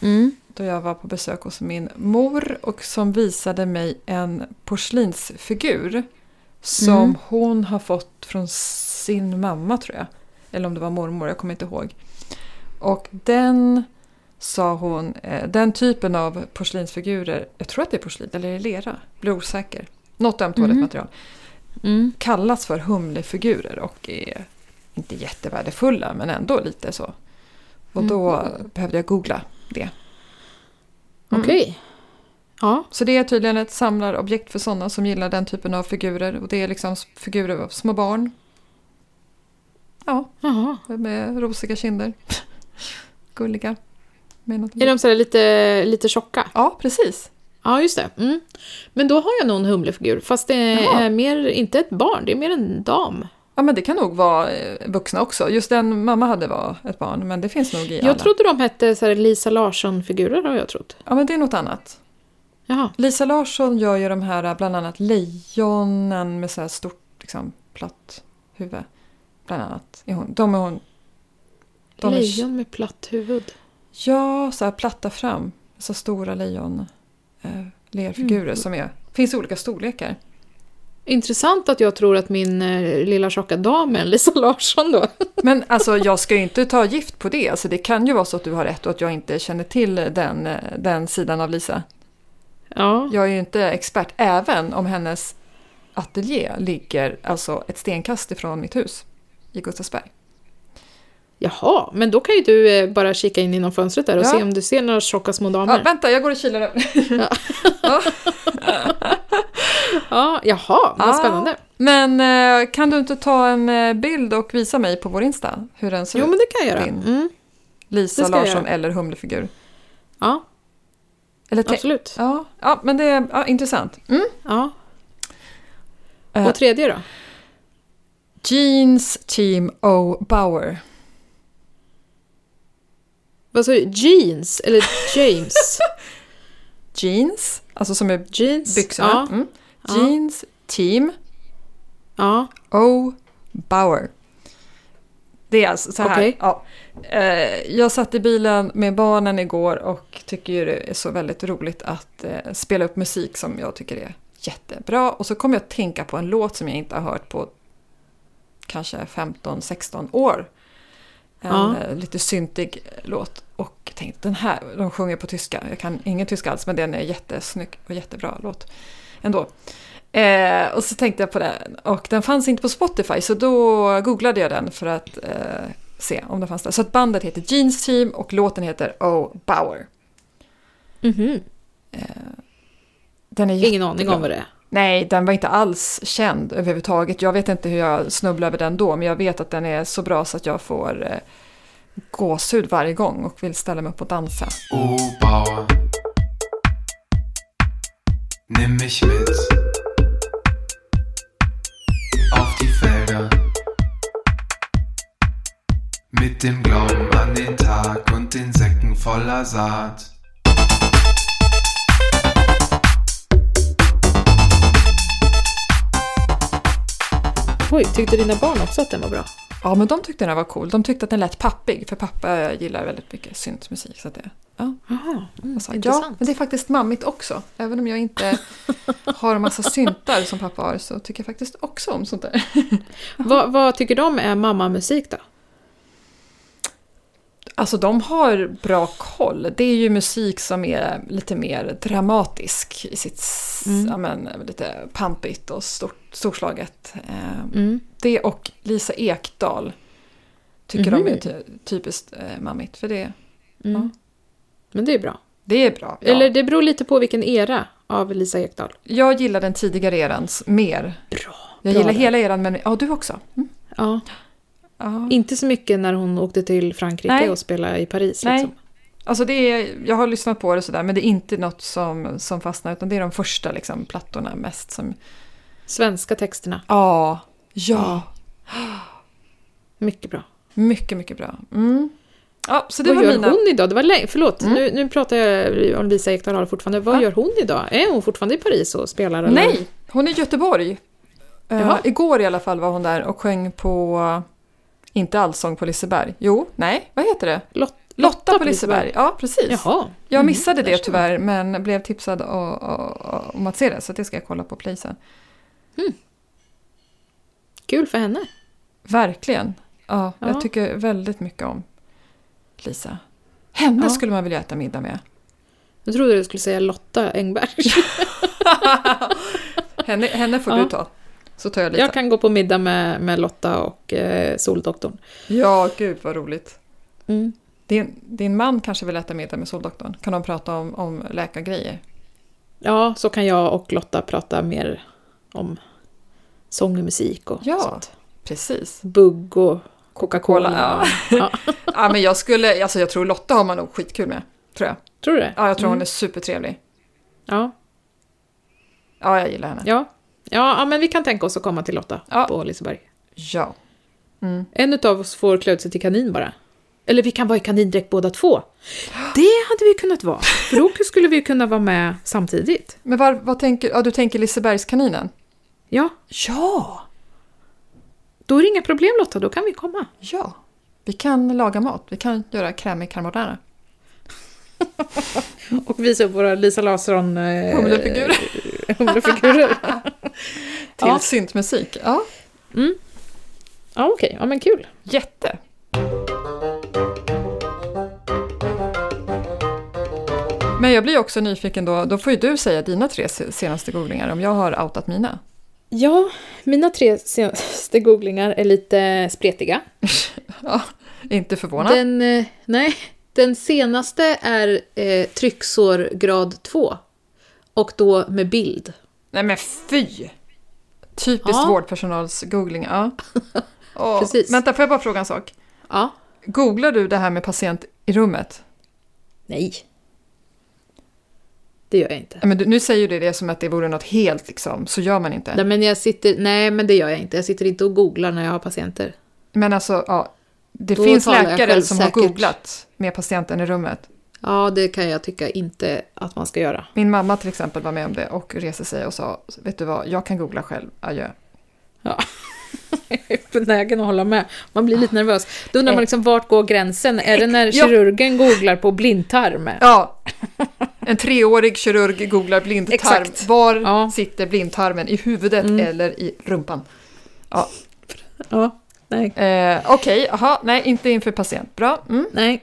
S2: Mm.
S1: då jag var på besök hos min mor och som visade mig en porslinsfigur som
S2: Mm.
S1: hon har fått från sin mamma tror jag. Eller om det var mormor, jag kommer inte ihåg. Och den, sa hon, eh, den typen av porslinsfigurer, jag tror att det är porslin eller är det lera, blir osäker. Något ömtåligt
S2: Mhm.
S1: material. Kallas för humlefigurer och är inte jättevärdefulla men ändå lite så. Och då behövde jag googla det.
S2: Okej. Ja.
S1: Så det är tydligen ett samlarobjekt för sådana som gillar den typen av figurer. Och det är liksom s- figurer av små barn. Ja,
S3: Jaha.
S1: med rosiga kinder. Gulliga. Med något-
S2: Är de sådär lite, lite tjocka?
S1: Ja, precis.
S2: Ja, just det. Mm. Men då har jag nog en humlefigur, fast det
S1: Jaha.
S2: är mer, inte ett barn, det är mer en dam.
S1: Ja, men det kan nog vara eh, vuxna också. Just den mamma hade var ett barn, men det finns nog i alla.
S2: Jag trodde de hette så här Lisa Larsson-figurer, har jag trott.
S1: Ja, men det är något annat.
S2: Jaha.
S1: Lisa Larsson gör ju de här eh, bland annat lejonen med så här stort liksom, platt huvud. Bland annat. Är hon. De är hon. De är-
S2: Lejon med platt huvud.
S1: Ja, så här platta fram. Så stora lejon eh, lerfigurer
S2: Mm.
S1: som är. Finns i olika storlekar.
S2: Intressant att jag tror att min eh, lilla tjocka dam är en Lisa Larsson då.
S1: Men alltså jag ska ju inte ta gift på det. Alltså, det kan ju vara så att du har rätt och att jag inte känner till den, eh, den sidan av Lisa.
S2: Mm. Ja,
S1: Jag är ju inte expert, även om hennes ateljé ligger alltså ett stenkast ifrån mitt hus i Gustavsberg.
S2: jaha, men då kan ju du eh, bara kika in genom fönstret där och
S1: Ja.
S2: se om du ser några tjocka små
S1: Ja,
S2: damer. Ja,
S1: vänta, jag går och kilar över.
S2: jaha, vad
S1: Ja.
S2: spännande.
S1: Men eh, kan du inte ta en eh, bild och visa mig på vår Insta hur den ser
S2: Jo,
S1: ut?
S2: men det kan jag göra.
S1: Din.
S2: Mm.
S1: Lisa
S2: det ska jag
S1: Larsson
S2: göra.
S1: eller humlefigur.
S2: Ja,
S1: Eller te-
S2: absolut.
S1: ja, ja, men det är ja, intressant. Mm.
S2: Ja.
S1: Eh,
S2: Och tredje då?
S1: Jeans Team O Bauer.
S2: Vad sa du? Jeans? Eller James?
S1: Jeans, alltså som är
S2: Jeans?
S1: byxorna.
S2: Ja.
S1: Mm.
S2: Ja.
S1: Jeans Team
S2: ja.
S1: O. Bauer. Det är alltså så här.
S2: Okej.
S1: Ja. Eh, Jag satt i bilen med barnen igår och tycker ju det är så väldigt roligt att eh, spela upp musik som jag tycker är jättebra. Och så kom jag att tänka på en låt som jag inte har hört på kanske 15-16 år. En
S2: Ja.
S1: eh, lite syntig låt. Och tänkte den här, de sjunger på tyska. Jag kan ingen tyska alls men den är jättesnygg och jättebra låt ändå. Eh, och så tänkte jag på den och den fanns inte på Spotify så då googlade jag den för att eh, se om den fanns där. Så att bandet heter Jeans Team och låten heter Oh Bauer.
S2: Mhm.
S1: Den är
S2: Ingen
S1: jättebra.
S2: aning om vad det är.
S1: Nej, den var inte alls känd överhuvudtaget. Jag vet inte hur jag snubblade över den då men jag vet att den är så bra så att jag får eh, gåshud varje gång och vill ställa mig upp och dansa.
S4: O Bauer, nimm mich mit auf die Felder mit dem Glauben an den Tag und den Säcken voller Saat.
S2: Oj, tyckte dina barn också att den var bra?
S1: Ja, men de tyckte den var cool. De tyckte att den lät pappig för pappa gillar väldigt mycket syntmusik. Så att det, ja.
S2: Jaha, mm,
S1: Jag sa, ja,
S2: intressant.
S1: men det är faktiskt mammigt också. Även om jag inte har en massa syntar som pappa har så tycker jag faktiskt också om sånt där.
S2: Vad, vad tycker de är mammamusik då?
S1: Alltså de har bra koll. Det är ju musik som är lite mer dramatisk i sitt, s-
S2: Mm.
S1: ja, men, lite pampigt och stort, storslaget. Eh,
S2: Mm.
S1: Det och Lisa Ekdahl tycker de
S2: Mhm.
S1: är ty- typiskt eh, mammigt. För det,
S2: Mm.
S1: Ja.
S2: Men det är bra.
S1: det är bra. Ja.
S2: Eller det beror lite på vilken era av Lisa Ekdahl.
S1: Jag gillar den tidigare erans mer.
S2: Bra.
S1: Jag
S2: bra
S1: gillar
S2: där.
S1: hela eran, men ja, du också. Mm.
S2: Ja,
S1: Ja.
S2: inte så mycket när hon åkte till Frankrike
S1: Nej.
S2: och spelade i Paris.
S1: Nej.
S2: Liksom.
S1: Alltså det är, jag har lyssnat på det sådär, men det är inte något som, som fastnar, utan det är de första liksom, plattorna mest som...
S2: Svenska texterna,
S1: Ja, ja,
S2: mycket bra.
S1: mycket, mycket bra. Mm. Ja, så det
S2: vad
S1: var
S2: gör
S1: mina... Mm.
S2: hon idag? Det var länge, förlåt, nu, nu pratar jag om Lisa Ekdahl Ahl fortfarande. Vad
S1: Ja.
S2: gör hon idag? Är hon fortfarande i Paris och spelar? eller?
S1: Nej, hon är i Göteborg. Eh,
S2: Jaha.
S1: igår i alla fall var hon där och sjöng på... Inte Allsång på Liseberg. Jo, nej, vad heter det?
S2: Lot-
S1: Lotta, på Liseberg. Ja, precis.
S2: Jaha. Mm,
S1: Jag missade
S2: där
S1: det
S2: ser
S1: tyvärr, men blev tipsad o- o- o- om att se det, så det ska jag kolla på play sen.
S2: Kul för henne.
S1: Verkligen. Ja,
S2: Ja.
S1: Jag tycker väldigt mycket om Lisa. Henne
S2: Ja.
S1: skulle man vilja äta middag med.
S2: Nu trodde du skulle säga Lotta Engberg.
S1: Henne, henne får
S2: Ja.
S1: du ta. Så tar jag lite.
S2: Jag kan gå på middag med, med Lotta och eh, Soldoktorn.
S1: Ja, gud vad roligt.
S2: Mm.
S1: Din, din man kanske vill äta middag med Soldoktorn? Kan de prata om, om läkargrejer?
S2: Ja, så kan jag och Lotta prata mer om sång och musik och
S1: Ja.
S2: sånt.
S1: Precis.
S2: Bugg och Coca-Cola.
S1: Cola, Ja, men jag, skulle, alltså, jag tror Lotta har man nog skitkul med. Tror jag.
S2: Tror du det?
S1: Ja, jag tror hon är supertrevlig.
S2: Ja.
S1: Ja, jag gillar henne.
S2: Ja. Ja, ja, men vi kan tänka oss att komma till Lotta
S1: Ja.
S2: på Liseberg.
S1: Ja.
S2: En av oss får klä ut sig till kanin bara. Eller vi kan vara i kanindräkt båda två. Det hade vi kunnat vara. För då skulle vi kunna vara med samtidigt.
S1: Men var, vad tänker, ja, du tänker Lisebergskaninen?
S2: Ja,
S1: Ja!
S2: då är det inga problem Lotta, då kan vi komma.
S1: Ja. Vi kan laga mat. Vi kan göra krämig carbonara.
S2: Och visa upp våra Lisa Larsson... eh,
S1: Humlefigurer.
S2: humlefigurer.
S1: Till
S2: Ja.
S1: syntmusik. Ja.
S2: Ja, okej. Ja, men kul.
S1: Jätte. Men jag blir också nyfiken då. Då får ju du säga dina tre se- senaste googlingar om jag har outat mina.
S2: Ja, mina tre senaste googlingar är lite spretiga.
S1: Ja, inte förvånad.
S2: Den, eh, nej, den senaste är eh, trycksår grad 2. Och då med bild.
S1: Nej men fy! Typiskt
S2: Ja.
S1: vårdpersonals-googling. Ja. Åh,
S2: Precis.
S1: Vänta, får jag bara fråga en sak?
S2: Ja.
S1: Googlar du det här med patient i rummet?
S2: Nej. Det gör jag inte.
S1: Nej, Men du, nu säger du det som att det vore något helt, liksom, så gör man inte.
S2: Nej men, jag sitter, nej, men det gör jag inte. Jag sitter inte och googlar när jag har patienter.
S1: Men alltså, ja, det
S2: Då
S1: finns
S2: talar jag
S1: läkare
S2: själv
S1: som
S2: säkert.
S1: har googlat med patienten i rummet.
S2: Ja, det kan jag tycka inte att man ska göra.
S1: Min mamma till exempel var med om det och reste sig och sa, vet du vad, jag kan googla själv, adjö.
S2: Jag är benägen att hålla med. Man blir lite nervös. Då undrar
S1: Eh.
S2: man liksom, vart går gränsen? Är det när
S1: Ja.
S2: kirurgen googlar på blindtarm?
S1: Ja, en treårig kirurg googlar blindtarm.
S2: Exakt.
S1: Var
S2: Ja. Mm.
S1: sitter blindtarmen? I huvudet eller i rumpan?
S2: Ja, nej.
S1: Eh, Okej, jaha, nej, inte inför patient. Bra. Mm.
S2: Nej.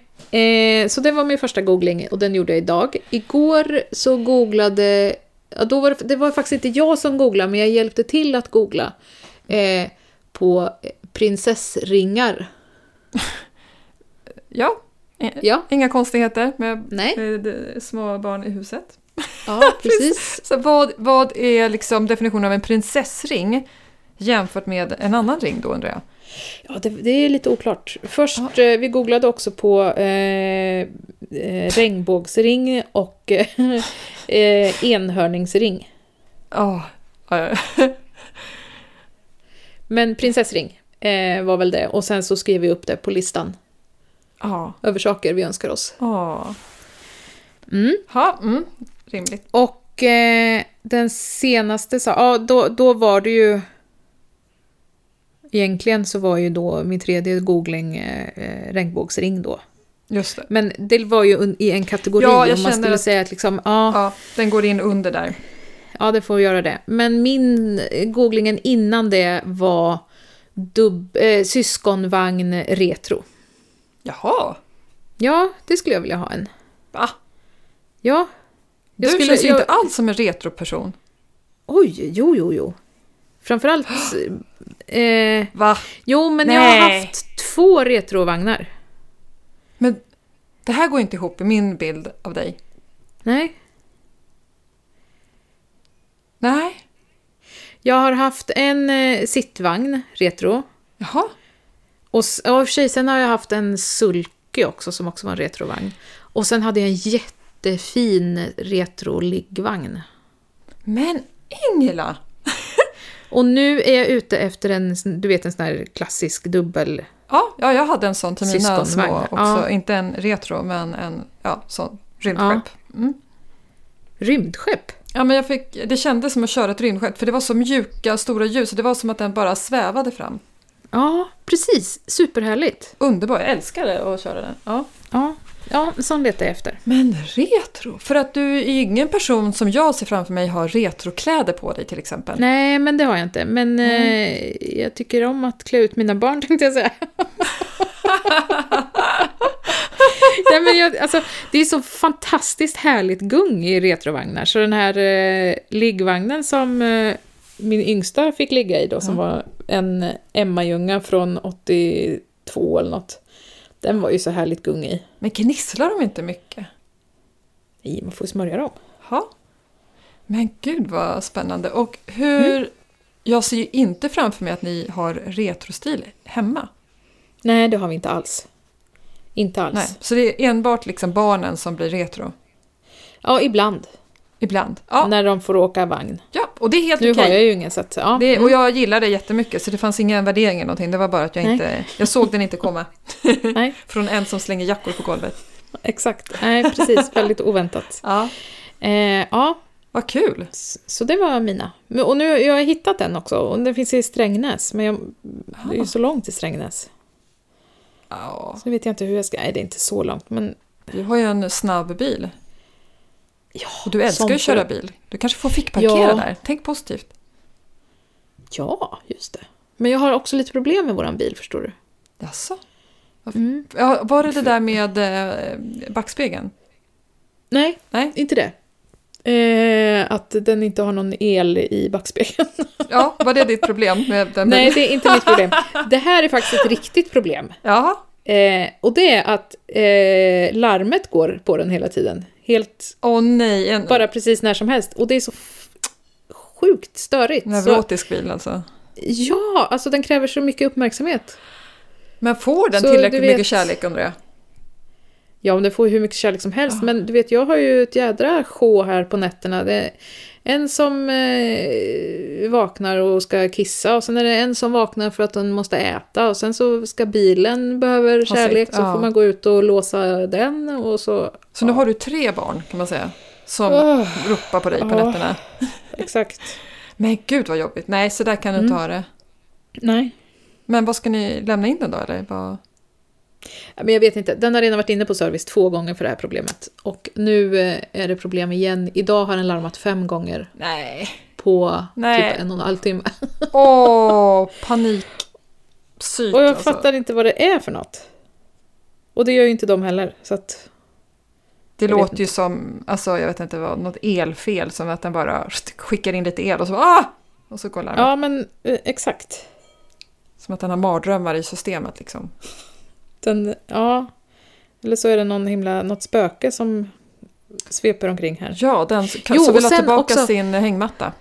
S2: Eh, så det var min första googling och den gjorde jag idag. Igår så googlade... Ja, då var det, det var faktiskt inte jag som googlade, men jag hjälpte till att googla eh, på prinsessringar.
S1: Ja,
S2: Ja,
S1: inga konstigheter med
S2: nej.
S1: eh, de- små barn i huset.
S2: Ja, precis.
S1: Så vad, vad är liksom definitionen av en prinsessring jämfört med en annan ring då undrar jag?
S2: Ja, det, det är lite oklart. Först, eh, vi googlade också på eh, eh, regnbågsring och eh, enhörningsring.
S1: Ja, eh,
S2: Men prinsessring eh, var väl det. Och sen så skrev vi upp det på listan
S1: ja,
S2: över saker vi önskar oss.
S1: ja.
S2: Mm.
S1: Ha, mm, rimligt.
S2: Och eh, den senaste sa, ja då, då var det ju... Egentligen så var ju då min tredje googling eh, eh, regnbågsring då.
S1: Just det.
S2: Men det var ju un, i en kategori
S1: Ja, jag
S2: om man
S1: känner
S2: skulle
S1: att-
S2: säga att liksom, ja,
S1: Ja, den går in under där.
S2: ja det får vi göra det. Men min eh, googlingen innan det var dubb, eh, syskonvagn retro.
S1: Jaha,
S2: Ja, det skulle jag vilja ha en.
S1: va?
S2: Ja.
S1: Du
S2: Jag skulle-
S1: känns ju
S2: jag-
S1: inte alls som en retroperson.
S2: Oj, jo, jo, jo. Framförallt... Eh,
S1: Va?
S2: Jo, men jag har
S1: Nej.
S2: haft två retrovagnar.
S1: Men det här går inte ihop i min bild av dig.
S2: Nej.
S1: Nej,
S2: Jag har haft en eh, sittvagn, retro.
S1: jaha.
S2: Och, s- ja, i och för sig, sen har jag haft en sulke också som också var en retrovagn. Och sen hade jag en jättefin retroliggvagn.
S1: Men Ingela!
S2: Och nu är jag ute efter en, sån- du vet en sån här klassisk dubbel...
S1: Ja, ja jag hade en sån till mina
S2: Syskonvagn,
S1: små också.
S2: ja.
S1: Inte en retro, men en ja, sån rymdskepp. Ja. Mm.
S2: Rymdskepp?
S1: ja, men jag fick, det kändes som att köra ett rymdskepp, för det var så mjuka, stora ljus. och Det var som att den bara svävade fram.
S2: Ja, precis. Superhärligt.
S1: Underbar, jag älskade att köra den. Ja.
S2: Ja, ja en sån letar jag efter.
S1: Men retro? För att du är ingen person som jag ser framför mig har retrokläder på dig till exempel.
S2: Nej, men det har jag inte. Men eh, jag tycker om att klä ut mina barn, tänkte jag säga. Nej, men jag, alltså, det är så fantastiskt härligt gung i retrovagnar. Så den här eh, liggvagnen som eh, min yngsta fick ligga i då, som var en Emmajunga från 82 eller något. Den var ju så härligt gung i.
S1: Men gnisslar de inte mycket?
S2: Nej, man får ju smörja dem.
S1: Ja. Men gud vad spännande. Och hur...
S2: Mm.
S1: Jag ser ju inte framför mig att ni har retrostil hemma.
S2: Nej, det har vi inte alls. Inte alls.
S1: Nej. Så det är enbart liksom barnen som blir retro.
S2: Ja, ibland.
S1: Ibland. Ja,
S2: När de får åka vagn.
S1: ja och det är helt
S2: Nu
S1: okej.
S2: har jag ju ingen, så att, ja. Mm.
S1: Det, och jag gillar det jättemycket, så det fanns ingen värdering eller någonting. Det var bara att jag
S2: Nej.
S1: inte... Jag såg den inte komma.
S2: Nej,
S1: Från en som slänger jackor på golvet.
S2: exakt. Nej, precis. Väldigt oväntat.
S1: Ja.
S2: Eh, ja,
S1: Vad kul!
S2: S- Så det var mina. Men- Och nu, jag har hittat den också. Och den finns i Strängnäs. Men jag, det är
S1: Ah.
S2: ju så långt till Strängnäs.
S1: Ja,
S2: Så nu vet jag inte hur jag ska... Nej, det är inte så långt. Men
S1: du har ju en snabb bil.
S2: ja,
S1: Och du älskar
S2: som
S1: ju att köra
S2: för-
S1: bil. Du kanske får fickparkera
S2: Ja.
S1: där. Tänk positivt.
S2: Ja, just det. Men jag har också lite problem med våran bil, förstår du.
S1: Jaså? Varför- Ja, var det det där med eh, backspegeln?
S2: Nej,
S1: Nej?
S2: inte det. Eh, att den inte har någon el i backspegeln.
S1: Ja, var det ditt problem med den
S2: Nej,
S1: bilen?
S2: det är inte mitt problem. Det här är faktiskt ett riktigt problem.
S1: Jaha,
S2: Eh, och det är att eh, larmet går på den hela tiden. Helt
S1: åh nej. En
S2: bara precis när som helst. Och det är så f- sjukt störigt. Så,
S1: neurotisk bil alltså.
S2: ja, alltså den kräver så mycket uppmärksamhet.
S1: Men får den
S2: Så
S1: tillräckligt
S2: du vet-
S1: mycket kärlek undrar jag?
S2: Ja, men den får ju hur mycket kärlek som helst. Men du vet, jag har ju ett jädra sjå här på nätterna. Det är en som eh, vaknar och ska kissa och sen är det en som vaknar för att den måste äta. Och sen så ska bilen behöver
S1: sitt,
S2: kärlek så
S1: ja.
S2: får man gå ut och låsa den och så...
S1: Så nu har du tre barn kan man säga. Som
S2: Åh.
S1: ropar på dig på
S2: Ja.
S1: nätterna.
S2: Exakt.
S1: Men gud vad jobbigt. Nej, så där kan du
S2: Mm.
S1: inte ha det.
S2: Nej.
S1: Men vad ska ni lämna in den då eller? Vad...
S2: Ja, Men jag vet inte, den har redan varit inne på service två gånger för det här problemet. Och nu eh, är det problem igen. Idag har den larmat fem gånger
S1: Nej.
S2: på
S1: Nej.
S2: typ en och en halv timme.
S1: Åh, panik. Psyk
S2: Och jag
S1: alltså.
S2: fattar inte vad det är för något. Och det gör ju inte de heller. Så att,
S1: Det
S2: Jag vet
S1: låter ju som, alltså jag vet inte vad, något elfel som att den bara skickar in lite el och så ah! Och så kollar den.
S2: ja, men eh, exakt.
S1: Som att den har mardrömmar i systemet liksom.
S2: Den, ja. Eller så är det någon himla, något spöke som sveper omkring här.
S1: Ja, den kan,
S2: Jo,
S1: så vill
S2: och
S1: ha
S2: sen
S1: tillbaka
S2: också-
S1: sin hängmatta.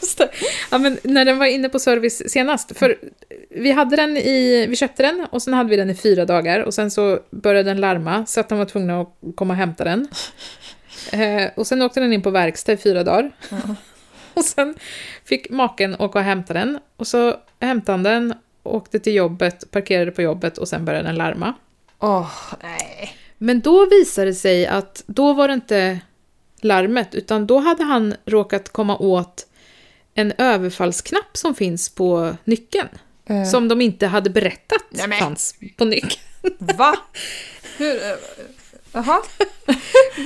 S2: Just det. Ja, men när den var inne på service senast, för vi, hade den i, vi köpte den och sen hade vi den i fyra dagar och sen så började den larma så att de var tvungna att komma och hämta den. Eh, och sen åkte den in på verkstad i fyra dagar. Och sen fick maken åka och hämta den och så hämtade han den, åkte till jobbet, parkerade på jobbet och sen började den larma.
S1: Åh, nej.
S2: Men då visade det sig att då var det inte larmet, utan då hade han råkat komma åt en överfallsknapp som finns på nyckeln.
S1: Eh.
S2: Som de inte hade berättat
S1: Nämen.
S2: fanns på nyckeln.
S1: Eh, Va? Hur? eh, Jaha,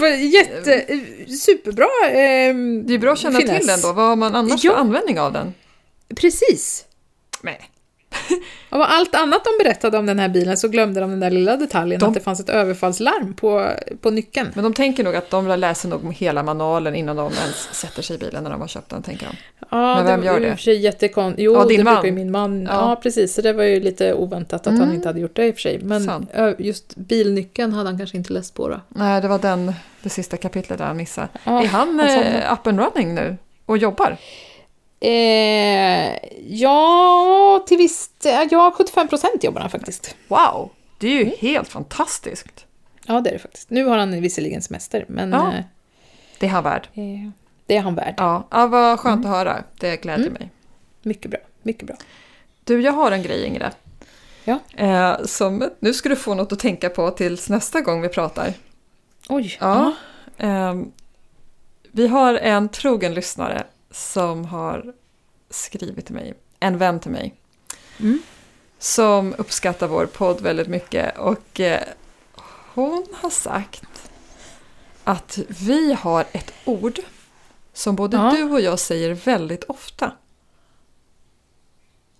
S2: Var Jätte, superbra. ehm,
S1: det är bra att känna
S2: finess.
S1: till den då. Vad har man annars
S2: Ja.
S1: för användning av den?
S2: Precis.
S1: Nej.
S2: Av allt annat de berättade om den här bilen så glömde de den där lilla detaljen
S1: De-
S2: att det fanns ett överfallslarm på, på nyckeln.
S1: Men de tänker nog att de läser nog hela manualen innan de ens sätter sig i bilen när de har köpt den, tänker de.
S2: Ja,
S1: Men vem
S2: det var
S1: gör
S2: ju i
S1: det?
S2: och för sig jättekonstigt. Jo,
S1: Ja, din
S2: det
S1: man.
S2: brukar ju min man.
S1: Ja. Mm.
S2: Ja. precis. Så det var ju lite oväntat att han inte hade gjort det i och för sig. Men
S1: Sant.
S2: ö, just bilnyckeln hade han kanske inte läst på då.
S1: Nej, det var den, det sista kapitlet där han missade.
S2: Ja,
S1: är han
S2: han Ah, sa
S1: eh, up and running nu och jobbar? Eh,
S2: ja, till viss... Ja, 75 procent jobbar han faktiskt.
S1: Wow! Det är ju
S2: Mm.
S1: helt fantastiskt.
S2: Ja, det är det faktiskt. Nu har han visserligen semester, men
S1: Ja. Det är han värd.
S2: eh, det är han värd.
S1: Ja, ja vad skönt
S2: Mm.
S1: att höra. Det gläder mig.
S2: Mycket bra. Mycket bra.
S1: Du, jag har en grej Ingrid.
S2: Ja.
S1: Eh, som, nu ska du få något att tänka på tills nästa gång vi pratar.
S2: Oj.
S1: Ja. Ehm, vi har en trogen lyssnare som har skrivit till mig, en vän till mig.
S2: Mm.
S1: Som uppskattar vår podd väldigt mycket och eh, hon har sagt att vi har ett ord som både
S2: Ja.
S1: du och jag säger väldigt ofta.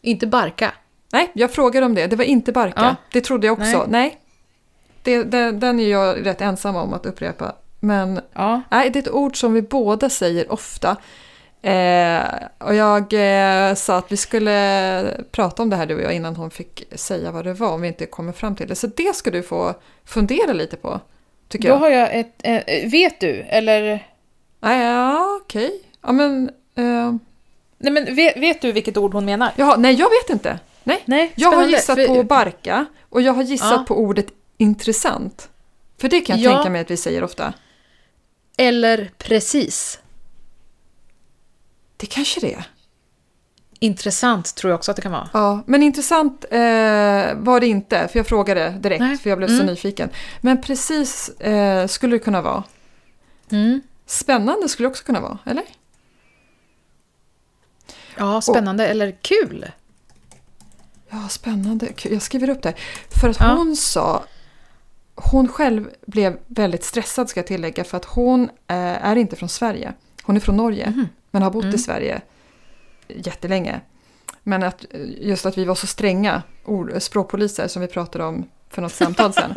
S2: Inte barka.
S1: Nej, jag frågade om det. Det var inte barka.
S2: Ja.
S1: Det trodde jag också. Nej.
S2: Nej.
S1: Det, den, den är jag rätt ensam om att upprepa. Men
S2: Ja.
S1: Nej, det är ett ord som vi båda säger ofta. Eh, och jag eh, sa att vi skulle prata om det här du och jag innan hon fick säga vad det var om vi inte kommer fram till det. Så det ska du få fundera lite på, tycker
S2: Då
S1: jag.
S2: har jag ett... Eh, vet du? Eller...
S1: Ah, ja, okej. Ja, men... Eh,
S2: Nej, men vet, vet du vilket ord hon menar?
S1: jaha, nej, jag vet inte. Nej.
S2: Nej,
S1: Jag har
S5: Spännande,
S1: gissat
S5: för-
S1: på barka och jag har gissat
S2: Ja.
S1: på ordet intressant. För det kan jag
S2: Ja.
S1: tänka mig att vi säger ofta.
S5: Eller precis.
S1: Det kanske det är.
S2: Intressant tror jag också att det kan vara.
S1: Ja, men intressant eh, var det inte, för jag frågade direkt,
S2: Nej.
S1: för jag blev så
S2: Mm.
S1: nyfiken. Men precis eh, skulle det kunna vara.
S2: Mm.
S1: Spännande skulle det också kunna vara, eller?
S2: Ja, spännande. Eller kul.
S1: Ja, spännande. Kul. Jag skriver upp det. här. För att
S2: Ja.
S1: hon sa... Hon själv blev väldigt stressad, ska jag tillägga, för att hon eh, är inte från Sverige. Hon är från Norge,
S2: Mhm.
S1: men har bott
S2: Mm.
S1: i Sverige jättelänge. Men att, eh, just att vi var så stränga ord, språkpoliser som vi pratade om för något samtal sen.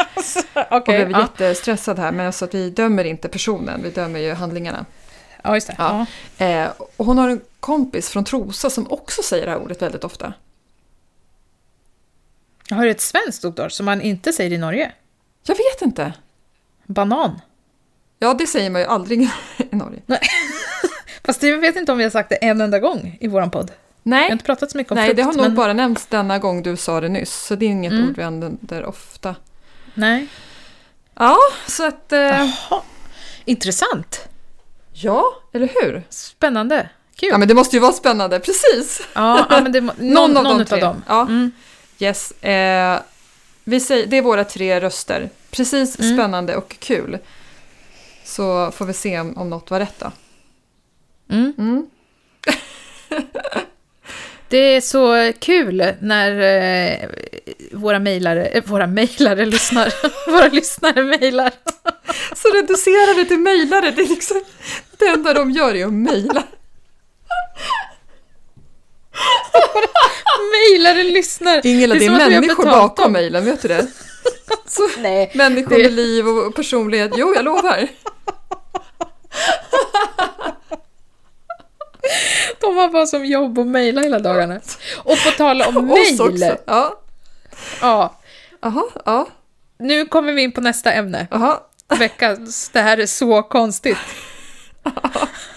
S2: Okej.
S1: jag blev
S2: ja.
S1: jättestressad här, men så att vi dömer inte personen, vi dömer ju handlingarna.
S2: ja, just det. Ja.
S1: Ja. Eh, och hon har en kompis från Trosa som också säger det här ordet väldigt ofta.
S2: Har du ett svenskt ord då, som man inte säger i Norge?
S1: Jag vet inte.
S2: Banan.
S1: Ja, det säger man ju aldrig i Norge.
S2: Fast jag vet inte om vi har sagt det en enda gång i vår podd. Jag har
S1: Nej,
S2: inte pratat så mycket om
S1: nej
S2: frukt.
S1: det har nog
S2: men...
S1: bara nämnts denna gång du sa det nyss, så det är inget
S2: Mm.
S1: ord vi använder ofta.
S2: Nej.
S1: Ja, så att... Eh,
S2: Jaha. Intressant.
S1: ja, eller hur?
S2: Spännande. Kul.
S1: Ja, men det måste ju vara spännande, precis!
S2: Ja, ja, men det, må- någon, någon,
S1: av de
S2: någon
S1: tre.
S2: av dem.
S1: Ja.
S2: Mm.
S1: Yes. Eh, vi säger, det är våra tre röster. Precis,
S2: Mm.
S1: spännande och kul. Så får vi se om, om något var rätt då.
S2: Mm.
S1: Mm.
S2: Det är så kul när eh, våra mejlare, eh, våra mejlare lyssnar, våra lyssnare mejlar.
S1: Så reducerar vi till mejlare, det är liksom det enda de gör är att mejla.
S2: Mejlare lyssnar!
S1: Ingela, det är,
S2: som att vi har
S1: människor
S2: betalt
S1: bakom
S2: dem.
S1: mejlen, vet du det? Så,
S2: Nej,
S1: människor
S2: det-
S1: med liv och personlighet, jo jag lovar.
S2: De har bara som jobb att mejla hela dagarna. Och på tal om
S1: Oss också.
S2: mejl,
S1: Ja.
S2: ja,
S1: Aha, ja,
S2: nu kommer vi in på nästa ämne.
S1: aha.
S2: Veckans, det här är så konstigt.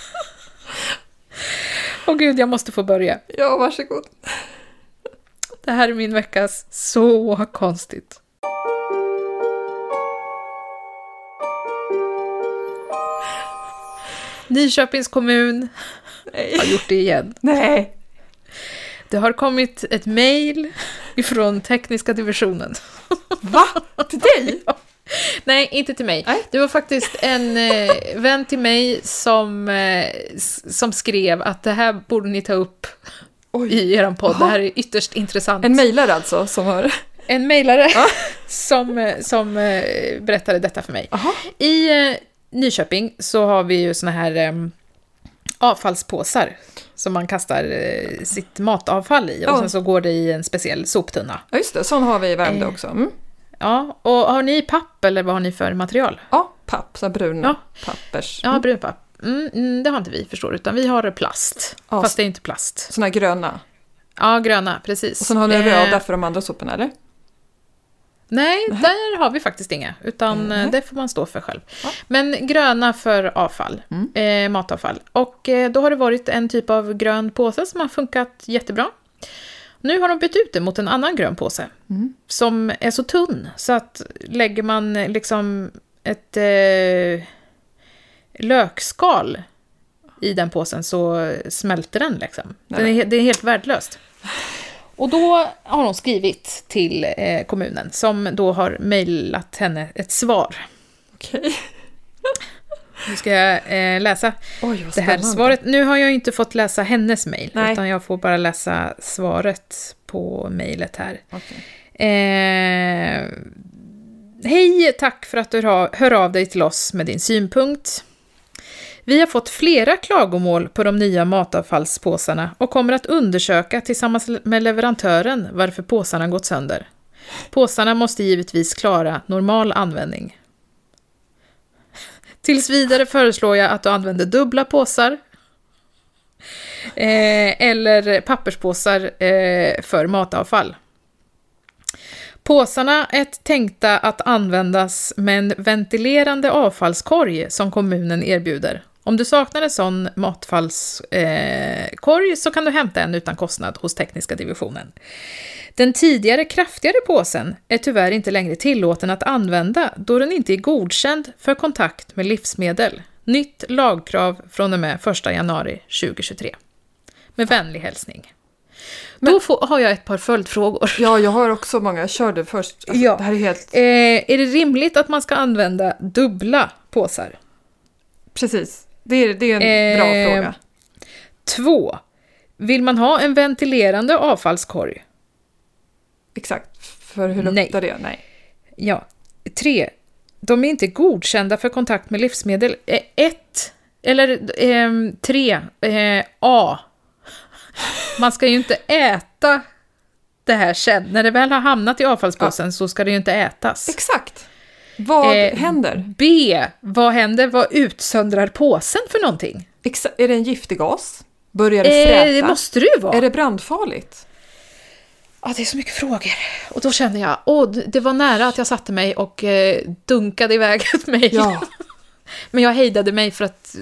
S2: Åh gud, jag måste få börja.
S1: ja, varsågod.
S2: Det här är min veckas så konstigt. Nyköpings kommun har
S1: Nej.
S2: gjort det igen.
S1: Nej.
S2: Det har kommit ett mejl ifrån tekniska divisionen.
S1: Va? Till dig?
S2: Nej, inte till mig.
S1: Nej.
S2: Det var faktiskt en eh, vän till mig som, eh, s- som skrev att det här borde ni ta upp
S1: Oj.
S2: i er podd. Det här är ytterst intressant.
S1: En mejlare alltså som har...
S2: en mejlare som, eh, som eh, berättade detta för mig.
S1: Aha.
S2: I eh, Nyköping så har vi ju såna här eh, avfallspåsar som man kastar eh, sitt matavfall i och
S1: Ja.
S2: sen så går det i en speciell soptunna.
S1: Ja, just det. Sån har vi i Värmdö
S2: Eh.
S1: också. Mm.
S2: Ja, och har ni papp eller vad har ni för material?
S1: Ja, papp. Så här bruna
S2: Ja.
S1: pappers.
S2: Ja, brunpapp. Mm, mm, det har inte vi förstår utan vi har plast.
S1: Ja,
S2: Fast det är inte plast.
S1: Såna här gröna.
S2: Ja, gröna, precis.
S1: Och sen har ni
S2: Eh,
S1: röda för de andra soporna, eller?
S2: Nej, där har vi faktiskt inga, utan
S1: Nej.
S2: eh, det får man stå för själv.
S1: Ja. Mm.
S2: Men gröna för avfall, eh, matavfall. Och eh, då har det varit en typ av grön påse som har funkat jättebra. Nu har de bytt ut det mot en annan grön påse
S1: Mm.
S2: som är så tunn så att lägger man liksom ett eh, lökskal i den påsen så smälter den liksom. Den är, he- det är helt värdelöst. Och då har hon skrivit till eh, kommunen som då har mejlat henne ett svar.
S1: Okej.
S2: Nu ska jag eh, läsa
S1: Oj, vad
S2: det här
S1: spännande.
S2: svaret. Nu har jag ju inte fått läsa hennes mejl,
S1: Nej.
S2: utan jag får bara läsa svaret på mejlet här.
S1: Okej.
S2: Eh, Hej, tack för att du hör- hör av dig till oss med din synpunkt. Vi har fått flera klagomål på de nya matavfallspåsarna och kommer att undersöka tillsammans med leverantören varför påsarna gått sönder. Påsarna måste givetvis klara normal användning. Tills vidare föreslår jag att du använder dubbla påsar Eh, eller papperspåsar eh, för matavfall. Påsarna är tänkta att användas med en ventilerande avfallskorg som kommunen erbjuder. Om du saknar en sån matfallskorg så kan du hämta en utan kostnad hos tekniska divisionen. Den tidigare kraftigare påsen är tyvärr inte längre tillåten att använda då den inte är godkänd för kontakt med livsmedel. Nytt lagkrav från och med 1 januari 2023. Med vänlig hälsning. Då får, har jag ett par följdfrågor.
S1: Ja, jag har också många. Kör du först. Alltså,
S2: Ja.
S1: Det här är helt...
S2: Eh, är det rimligt att man ska använda dubbla påsar?
S1: Precis. Det är, det är en
S2: Eh,
S1: bra fråga.
S2: Två. Vill man ha en ventilerande avfallskorg?
S1: Exakt. För hur
S2: Nej.
S1: luktar det? Nej.
S2: Ja. Tre. De är inte godkända för kontakt med livsmedel. Eh, Ett. Eller ehm, tre. Eh, A. Man ska ju inte äta det här sen. När det väl har hamnat i avfallspåsen så ska det ju inte ätas.
S1: Exakt. Vad
S2: Eh,
S1: händer?
S2: B. Vad händer? Vad utsöndrar påsen för någonting?
S1: Exa- är det en giftig gas? Börjar det
S2: Eh,
S1: fräta?
S2: det måste det ju vara.
S1: Är det brandfarligt?
S2: Ja, det är så mycket frågor. Och då känner jag, åh, det var nära att jag satte mig och eh, dunkade iväg ett mejl.
S1: Ja,
S2: Men jag hejdade mig för att eh,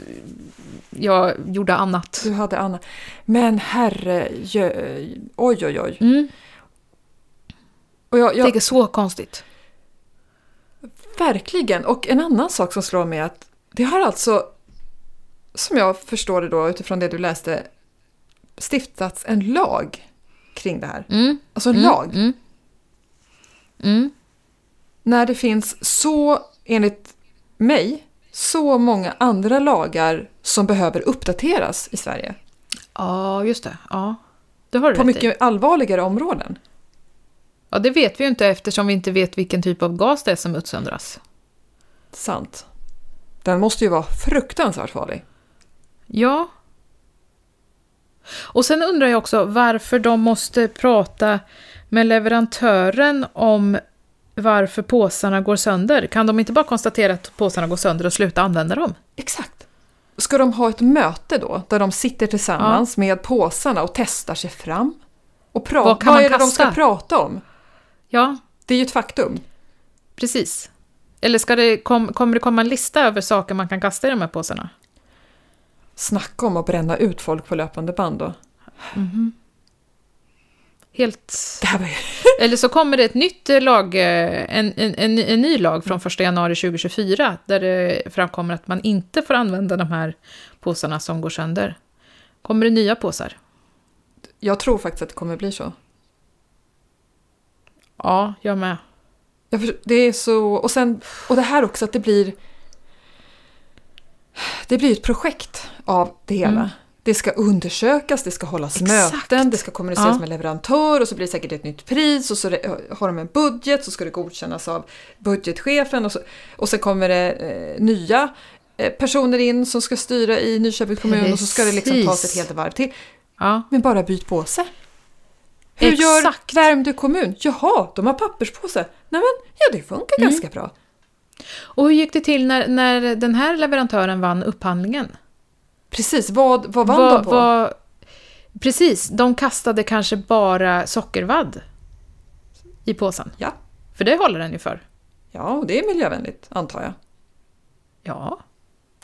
S2: jag gjorde annat.
S1: du hade Anna. Men herre... jö- Oj, oj, oj.
S2: Mm.
S1: Och jag, jag,
S2: Det är så konstigt.
S1: Verkligen! Och en annan sak som slår mig är att det har alltså, som jag förstår det då utifrån det du läste, stiftats en lag kring det här.
S2: Mm.
S1: Alltså en lag. När det finns så, enligt mig, så många andra lagar som behöver uppdateras i Sverige.
S2: Ja, just det. Ja, det har du
S1: På
S2: rätt i.
S1: mycket allvarligare områden.
S2: Ja, det vet vi ju inte eftersom vi inte vet vilken typ av gas det är som utsöndras.
S1: Sant. Den måste ju vara fruktansvärt farlig.
S2: Ja. Och sen undrar jag också varför de måste prata med leverantören om varför påsarna går sönder. Kan de inte bara konstatera att påsarna går sönder och sluta använda dem?
S1: Exakt. Ska de ha ett möte då, där de sitter tillsammans med påsarna och testar sig fram? Och pratar.
S2: Vad
S1: Vad,
S2: kan man
S1: är det de ska
S2: kasta?
S1: prata om?
S2: Ja,
S1: Det är ju ett faktum.
S2: precis. Eller ska det, kom, kommer det komma en lista över saker man kan kasta i de här påsarna?
S1: Snacka om att bränna ut folk på löpande band då.
S2: Helt...
S1: Det här var ju...
S2: Eller så kommer det ett nytt eh, lag, eh, en, en, en, en ny lag från 1 januari 2024 där det framkommer att man inte får använda de här påsarna som går sönder. Kommer det nya påsar?
S1: Jag tror faktiskt att det kommer bli så.
S2: Ja, jag med.
S1: Jag för... Det är så... Och, sen... och det här också att det blir... Det blir ett projekt av det hela. Det ska undersökas, det ska hållas
S2: Mm. Exakt.
S1: möten, det ska kommuniceras
S2: Ja.
S1: med leverantör och så blir det säkert ett nytt pris och så re- har de en budget så ska det godkännas av budgetchefen och, så, och sen kommer det eh, nya eh, personer in som ska styra i Nyköpings kommun och så ska det liksom tas ett
S2: Precis.
S1: helt varv till.
S2: Ja,
S1: Men bara byt påse. Hur
S2: Exakt.
S1: gör Värmdö kommun? Jaha, de har papperspåse. Nej men, ja det funkar
S2: Mm.
S1: ganska bra.
S2: och hur gick det till när, när den här leverantören vann upphandlingen?
S1: Precis, vad, vad vann
S2: Vad-
S1: de på?
S2: vad- precis, de kastade kanske bara sockervadd i påsen.
S1: Ja.
S2: För det håller den ju för.
S1: Ja, och det är miljövänligt, antar jag.
S2: Ja,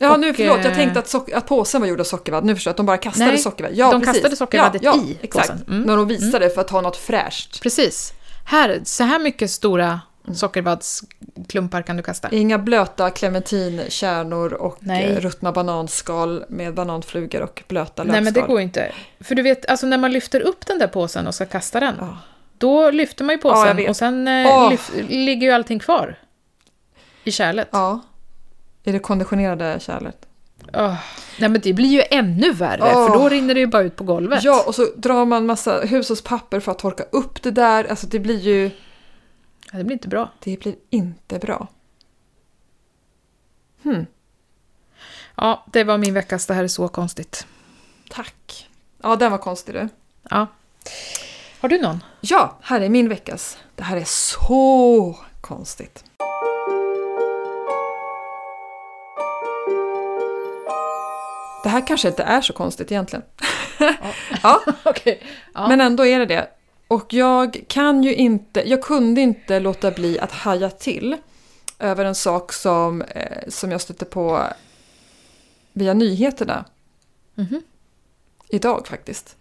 S1: Ja,
S2: Och,
S1: nu förlåt, jag
S2: eh,
S1: tänkte att, sock- att påsen var gjord av sockervadd. Nu förstår jag att de bara kastade
S2: Nej,
S1: sockervadd. Ja,
S2: de
S1: precis.
S2: kastade sockervaddet
S1: ja, ja,
S2: i
S1: exakt.
S2: påsen. Mm.
S1: När de visade för att ha något fräscht.
S2: precis. Här, så här mycket stora sockervaddsklumpar kan du kasta.
S1: Inga blöta clementinkärnor och
S2: Nej.
S1: eh, ruttna bananskal med bananflugor och blöta lövskal.
S2: Nej, men det går ju inte. För du vet, alltså när man lyfter upp den där påsen och ska kasta den,
S1: Ja.
S2: då lyfter man ju
S1: Ja, jag
S2: påsen
S1: vet.
S2: och sen eh,
S1: Åh.
S2: lyf- ligger ju allting kvar i kärlet.
S1: Ja. I det konditionerade kärlet.
S2: Åh. Nej, men det blir ju ännu värre,
S1: Åh.
S2: för då rinner det ju bara ut på golvet.
S1: Ja, och så drar man massa hushållspapper för att torka upp det där. Alltså det blir ju...
S2: Ja, Det blir inte bra.
S1: Det blir inte bra.
S2: Ja, det var min veckas Det här är så konstigt.
S1: Tack. Ja, den var konstig du.
S2: Ja. Har du någon?
S1: Ja, här är min veckas. Det här är så konstigt. Det här kanske inte är så konstigt egentligen. ja,
S5: Okej. Ja.
S1: men ändå är det det. Och jag kan ju inte, jag kunde inte låta bli att haja till över en sak som, eh, som jag stötte på via nyheterna
S2: Mhm.
S1: idag faktiskt.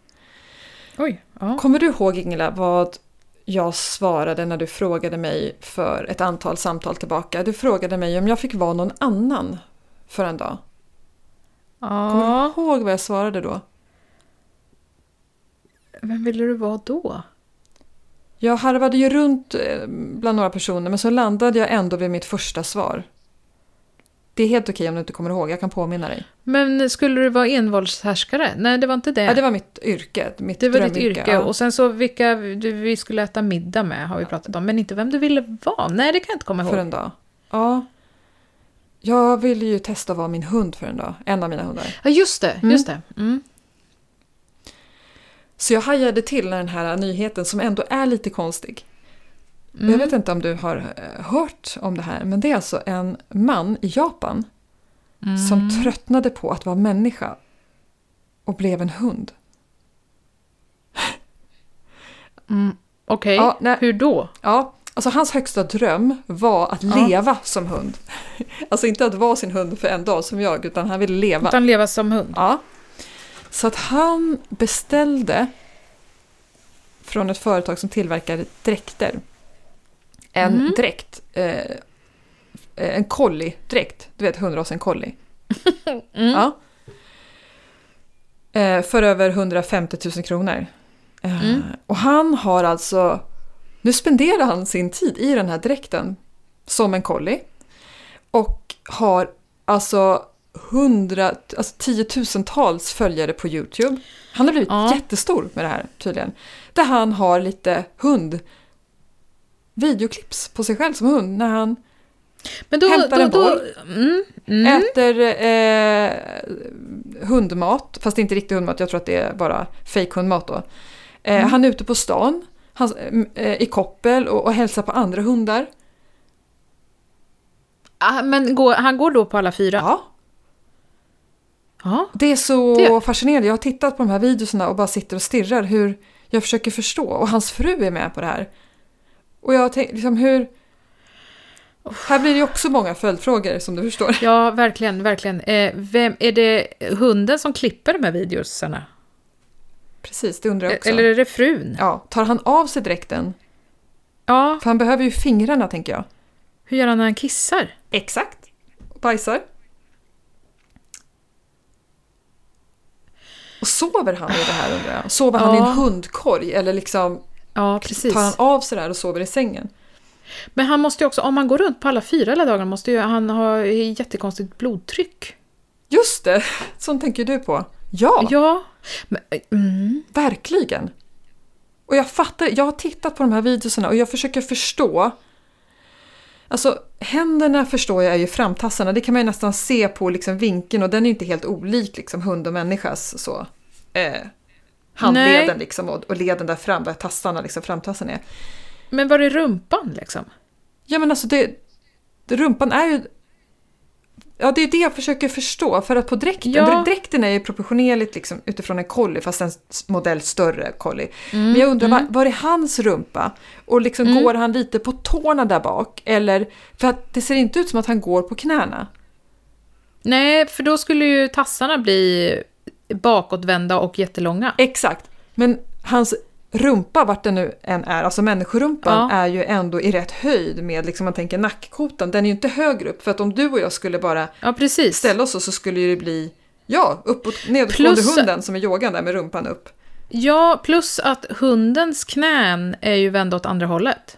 S2: Oj. Ja.
S1: Kommer du ihåg Ingela vad jag svarade när du frågade mig för ett antal samtal tillbaka? Du frågade mig om jag fick vara någon annan för en dag. Kommer
S2: ja.
S1: du ihåg vad jag svarade då?
S2: Vem ville du vara då?
S1: Jag harvade ju runt eh, bland några personer men så landade jag ändå vid mitt första svar. Det är helt okej om du inte kommer ihåg, jag kan påminna dig.
S2: Men skulle du vara envåldshärskare? Nej, det var inte det.
S1: Ja, det var mitt yrke, mitt
S2: Det var ditt
S1: drömyrke,
S2: yrke.
S1: ja.
S2: Och sen så vilka du, vi skulle äta middag med har vi pratat om. Men inte vem du ville vara. Nej, det kan jag inte komma ihåg.
S1: för en dag. Ja. Jag ville ju testa att vara min hund för en dag, en av mina hundar.
S2: Ja, just det. Just det. Mm.
S1: Så jag hajade till när den här nyheten, som ändå är lite konstig. Jag
S2: Mm.
S1: vet inte om du har eh, hört om det här, men det är alltså en man i Japan
S2: Mm.
S1: som tröttnade på att vara människa och blev en hund.
S2: Mm. Okej,
S1: Ja, nej.
S2: hur då?
S1: Ja, alltså hans högsta dröm var att leva som hund. Alltså inte att vara sin hund för en dag som jag, utan han ville leva.
S2: Utan leva som hund?
S1: Ja. Så att han beställde från ett företag som tillverkar dräkter. En dräkt. Eh, en collie-dräkt. Du vet hundrasen collie. Ja. Eh, för över 150 000 kronor. Eh, Och han har alltså... Nu spenderar han sin tid i den här dräkten som en collie. Och har alltså hundra, alltså tiotusentals följare på YouTube. Han har blivit
S2: Ja.
S1: jättestor med det här tydligen. Där han har lite hund videoklips på sig själv som hund när han
S2: Men då,
S1: Hämtar
S2: då,
S1: en
S2: då,
S1: boll.
S2: mm, mm,
S1: äter eh, hundmat, fast det är inte riktig hundmat, jag tror att det är bara fejkhundmat då. Eh, Han är ute på stan han, eh, i koppel och, och hälsar på andra hundar.
S2: Ah, men går, han går då på alla fyra?
S1: Ja,
S2: Ja.
S1: Det är så
S2: Det-
S1: fascinerande. Jag har tittat på de här videorna och bara sitter och stirrar hur jag försöker förstå. Och hans fru är med på det här. Och jag tänker liksom hur... Här blir det ju också många följdfrågor som du förstår.
S2: Ja, verkligen, verkligen. Eh, vem, är det hunden som klipper de här videosarna?
S1: Precis, det undrar jag också.
S2: E- Eller är det frun?
S1: Ja, tar han av sig dräkten?
S2: Ja,
S1: För han behöver ju fingrarna tänker jag.
S2: hur gör han när han kissar?
S1: Exakt. Och bajsar. Och sover han i det här undrar jag? Sover han i
S2: Ja.
S1: en hundkorg? Eller liksom
S2: Ja, precis.
S1: tar han av sig det här och sover i sängen?
S2: Men han måste ju också, om han går runt på alla fyra hela dagarna, måste ju han ha jättekonstigt blodtryck.
S1: Just det, sånt tänker du på. Ja,
S2: Ja. Men, mm,
S1: verkligen. Och jag fattar, jag har tittat på de här videorna och jag försöker förstå. Alltså händerna förstår jag är ju framtassarna, det kan man ju nästan se på liksom vinkeln och den är ju inte helt olik liksom hund och människas så. Eh, handleden
S2: Nej.
S1: liksom och, och leden där fram, där tassarna liksom framtassen är.
S2: men var är rumpan liksom?
S1: Ja men alltså det, det rumpan är ju... Ja det är ju det jag försöker förstå för att på dräkten,
S2: Ja.
S1: dräkten är ju proportionerligt liksom, utifrån en collie fast en s- modell större collie. men
S2: Mm,
S1: jag undrar var, var är hans rumpa? Och liksom går han lite på tårna där bak? Eller, för att det ser inte ut som att han går på knäna.
S2: Nej, för då skulle ju tassarna bli bakåtvända och jättelånga.
S1: Exakt, men hans rumpa, vart den nu än är, alltså människorumpan,
S2: Ja.
S1: är ju ändå i rätt höjd med, liksom man tänker nackkotan, den är ju inte högre upp för att om du och jag skulle bara
S2: Ja, precis.
S1: ställa oss så, så skulle ju det bli ja, uppåt nedåtgående
S2: Plus-
S1: hunden som är yogan där med rumpan upp.
S2: Ja, plus att hundens knän är ju vända åt andra hållet.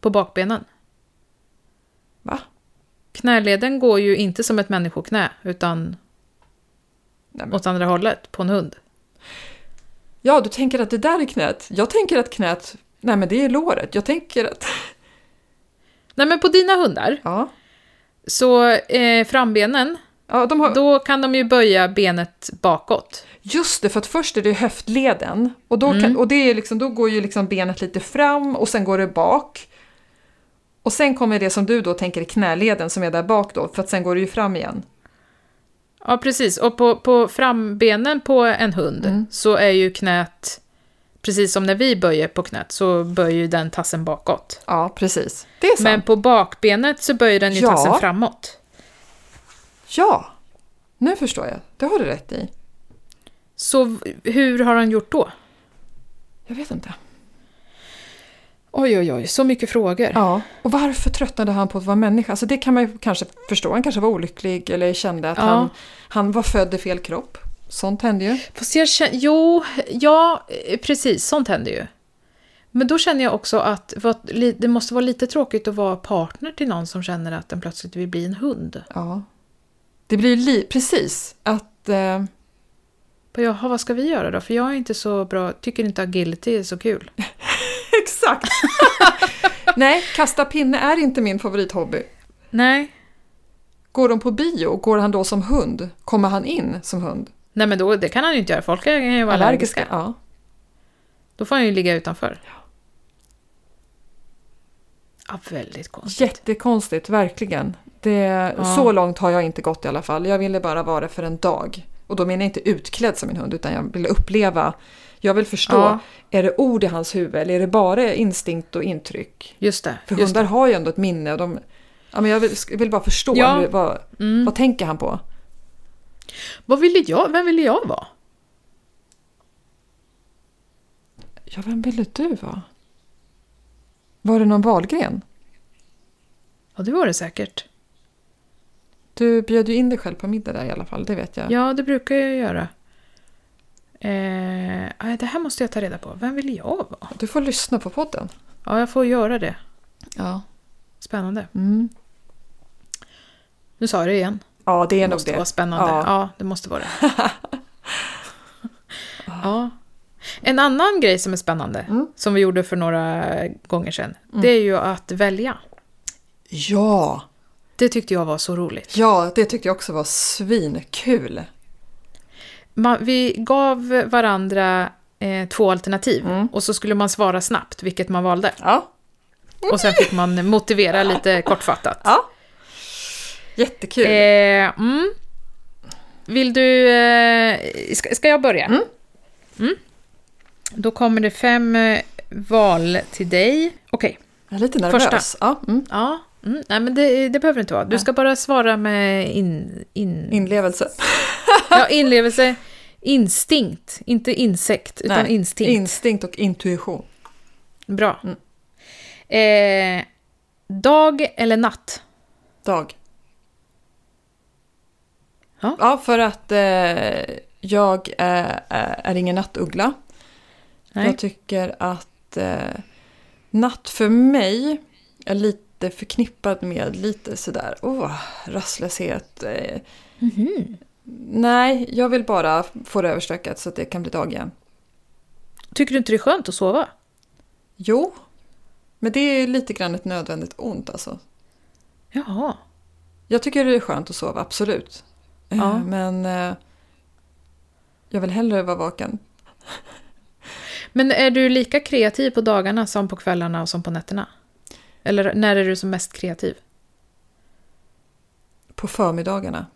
S2: På bakbenen.
S1: Va?
S2: Knäleden går ju inte som ett människoknä, utan
S1: Nej, men.
S2: åt andra hållet på en hund.
S1: Ja, du tänker att det där är knät. Jag tänker att knät, nej men det är låret. Jag tänker att,
S2: Nej, men på dina hundar,
S1: ja.
S2: så eh, frambenen,
S1: ja de har,
S2: då kan de ju böja benet bakåt.
S1: just det, för att först är det höftleden och, då,
S2: Mm.
S1: kan, och det är liksom, då går ju liksom benet lite fram och sen går det bak. Och sen kommer det som du då tänker är knäleden som är där bak då, för att sen går det ju fram igen.
S2: Ja, precis. Och på, på frambenen på en hund så är ju knät, precis som när vi böjer på knät, så böjer ju den tassen bakåt.
S1: Ja, precis. Det är sant.
S2: Men på bakbenet så böjer den ju
S1: Ja.
S2: tassen framåt.
S1: Ja, nu förstår jag. Det har du rätt i.
S2: Så v- hur har han gjort då?
S1: Jag vet inte.
S2: Oj, oj, oj, så mycket frågor.
S1: Ja, och varför tröttnade han på att vara människa? Alltså det kan man ju kanske förstå. Han kanske var olycklig eller kände att
S2: Ja.
S1: han, han var född i fel kropp. Sånt hände ju.
S2: Fast jag känner, jo, ja, eh, precis, sånt händer ju. Men då känner jag också att vad- li- det måste vara lite tråkigt att vara partner till någon som känner att den plötsligt vill bli en hund.
S1: Ja. Det blir ju li- precis att... Eh,
S2: Bara, Jaha, vad ska vi göra då? För jag är inte så bra, tycker inte agility är så kul.
S1: Exakt! Nej, kasta pinne är inte min favorithobby.
S2: Nej,
S1: Går de på bio, går han då som hund? Kommer han in som hund?
S2: nej men då, det kan han ju inte göra. Folk kan ju vara allergiska.
S1: Ja.
S2: Då får han ju ligga utanför. Ja, väldigt konstigt.
S1: Jättekonstigt, verkligen. Det,
S2: Ja.
S1: Så långt har jag inte gått i alla fall. Jag ville bara vara det för en dag. Och då menar jag inte utklädd som en hund, utan jag vill uppleva. Jag vill förstå,
S2: Ja.
S1: är det ord i hans huvud eller är det bara instinkt och intryck?
S2: Just det.
S1: För
S2: Just det.
S1: hundar har ju ändå ett minne. Och de, ja, men jag vill, vill bara förstå,
S2: Ja. Mm.
S1: hur, vad, vad tänker han på?
S2: Vad ville jag, vem ville jag vara?
S1: Ja, vem ville du vara? Var det någon valgren?
S2: Ja, det var det säkert.
S1: Du bjöd ju in dig själv på middag där i alla fall, det vet jag.
S2: Ja, det brukar jag göra. Eh, aj, det här måste jag ta reda på. Vem vill jag vara?
S1: Du får lyssna på podden.
S2: Ja, jag får göra det.
S1: Ja,
S2: Spännande.
S1: mm.
S2: Nu sa jag det igen.
S1: ja det är
S2: Det
S1: nog
S2: måste
S1: det.
S2: vara spännande.
S1: Ja.
S2: Ja. det måste vara det. ja. En annan grej som är spännande, som vi gjorde för några gånger sedan, det är ju att välja.
S1: Ja,
S2: Det tyckte jag var så roligt.
S1: ja, det tyckte jag också var svinkul.
S2: Man, vi gav varandra eh, två alternativ och så skulle man svara snabbt vilket man valde.
S1: Ja,
S2: Och sen fick man motivera lite kortfattat.
S1: ja. Jättekul.
S2: Eh, mm. Vill du... Eh, ska, ska jag börja? Mm. Då kommer det fem eh, val till dig. Okej.
S1: jag är lite nervös.
S2: första.
S1: Ja, mm.
S2: Ja. Mm. Nej, men det, det behöver inte vara. Du ska bara svara med in, in,
S1: Inlevelse.
S2: ja, inlevelse, instinkt. Inte insekt, utan
S1: Nej,
S2: instinkt.
S1: Instinkt och intuition.
S2: Bra. Eh, dag eller natt?
S1: Dag.
S2: Ja.
S1: Ja, för att eh, jag eh, är ingen nattuggla.
S2: Nej.
S1: Jag tycker att eh, natt för mig är lite förknippat med lite sådär åh, rastlöshet. Eh.
S2: Mhm.
S1: Nej, jag vill bara få det överstökat så att det kan bli dag igen.
S2: Tycker du inte det är skönt att sova?
S1: Jo, men det är lite grann ett nödvändigt ont alltså.
S2: Jaha.
S1: Jag tycker det är skönt att sova, absolut. Eh,
S2: Ja.
S1: Men eh, jag vill hellre vara vaken.
S2: Men är du lika kreativ på dagarna som på kvällarna och som på nätterna? Eller när är du som mest kreativ?
S1: på förmiddagarna.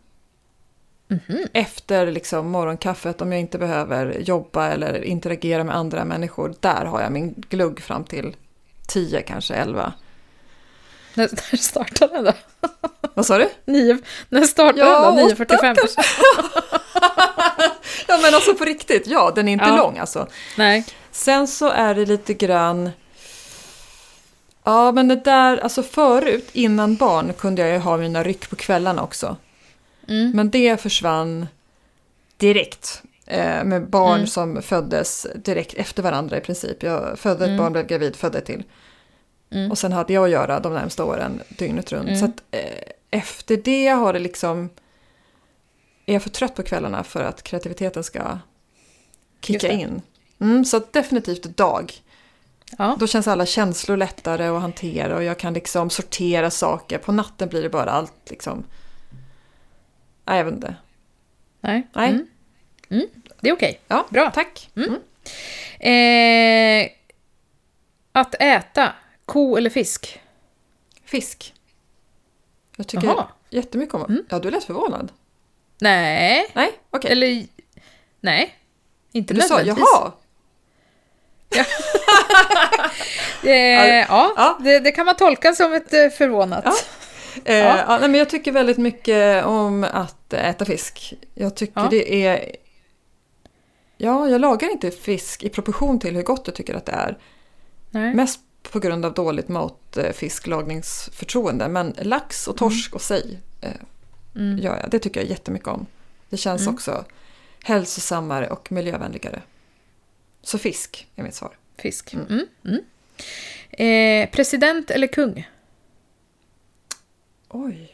S1: Efter liksom morgonkaffet, om jag inte behöver jobba eller interagera med andra människor, där har jag min glugg fram till 10, kanske 11.
S2: När, när startar den då?
S1: Vad sa du?
S2: Nio, när startar
S1: Ja,
S2: den då?
S1: åtta
S2: 9.45?
S1: Ja, men alltså på riktigt, ja, den är inte
S2: Ja.
S1: lång alltså.
S2: Nej.
S1: Sen så är det lite grann... Ja, men det där, alltså förut, innan barn, kunde jag ju ha mina ryck på kvällarna också.
S2: Mm.
S1: Men det försvann direkt. Eh, med barn
S2: Mm.
S1: som föddes direkt efter varandra i princip. Jag födde ett
S2: Mm.
S1: barn, blev gravid, födde ett till. Och sen hade jag att göra de närmsta åren, dygnet runt.
S2: Mm.
S1: Så att, eh, efter det har det liksom... Är jag för trött på kvällarna för att kreativiteten ska
S2: Just
S1: kicka
S2: det.
S1: in? Mm, så att definitivt dag.
S2: Ja.
S1: Då känns alla känslor lättare att hantera och jag kan liksom sortera saker. På natten blir det bara allt liksom... Nej, jag vet inte.
S2: Nej.
S1: Nej.
S2: Mm. Mm. Det är okej.
S1: Ja,
S2: Bra.
S1: tack.
S2: Mm. Eh, att äta, ko eller fisk?
S1: Fisk. Jag tycker
S2: Jaha. Mm.
S1: jättemycket om... Ja, du lät förvånad.
S2: Nej,
S1: Nej, okej.
S2: eller... Nej, inte
S1: Du sa
S2: nödvändigtvis.
S1: jaha.
S2: Eh, ja,
S1: Ja.
S2: Det, det kan man tolka som ett eh, förvånat.
S1: Ja. Eh,
S2: Ja.
S1: ja. nej, men jag tycker väldigt mycket om att äta fisk. Jag tycker
S2: Ja.
S1: det är... Ja, jag lagar inte fisk i proportion till hur gott jag tycker att det är.
S2: Nej.
S1: Mest på grund av dåligt matfisklagningsförtroende. Men lax och torsk och sej eh,
S2: Mm.
S1: gör jag. Det tycker jag jättemycket om. Det känns också hälsosammare och miljövänligare. Så fisk är mitt svar.
S2: Fisk. Mm. Mm. Eh, president eller kung?
S1: Oj. Hmm.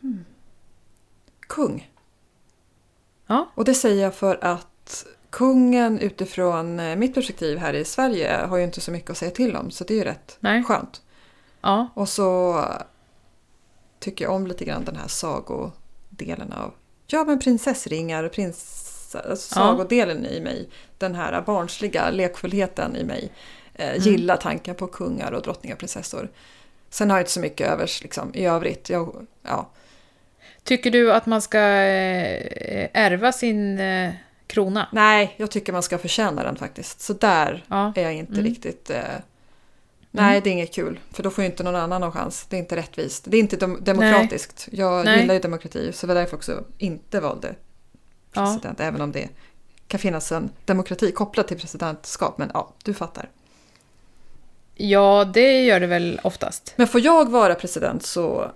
S2: Hmm.
S1: Kung.
S2: Ja.
S1: Och det säger jag för att kungen utifrån eh, mitt perspektiv här i Sverige har ju inte så mycket att säga till om. Så det är ju rätt
S2: Nej.
S1: skönt.
S2: Ja.
S1: Och så tycker jag om lite grann den här sagodelen av... Ja, men prinsessringar och prins, alltså
S2: Ja.
S1: sagodelen i mig. Den här barnsliga lekfullheten i mig. Eh, gillar tanken på kungar och drottningar och prinsessor. Sen har jag inte så mycket övers liksom, i övrigt. Jag, ja.
S2: Tycker du att man ska eh, ärva sin eh, krona?
S1: Nej, jag tycker man ska förtjäna den faktiskt. Så där
S2: Ja.
S1: är jag inte riktigt... Eh,
S2: Mm.
S1: nej, det är inget kul. För då får ju inte någon annan någon chans. Det är inte rättvist. Det är inte dem- demokratiskt. Jag
S2: Nej.
S1: gillar ju demokrati, så det var därför jag också inte valde
S2: Ja.
S1: president. Även om det kan finnas en demokrati kopplad till presidentskap. Men ja, du fattar.
S2: ja, det gör det väl oftast.
S1: Men får jag vara president så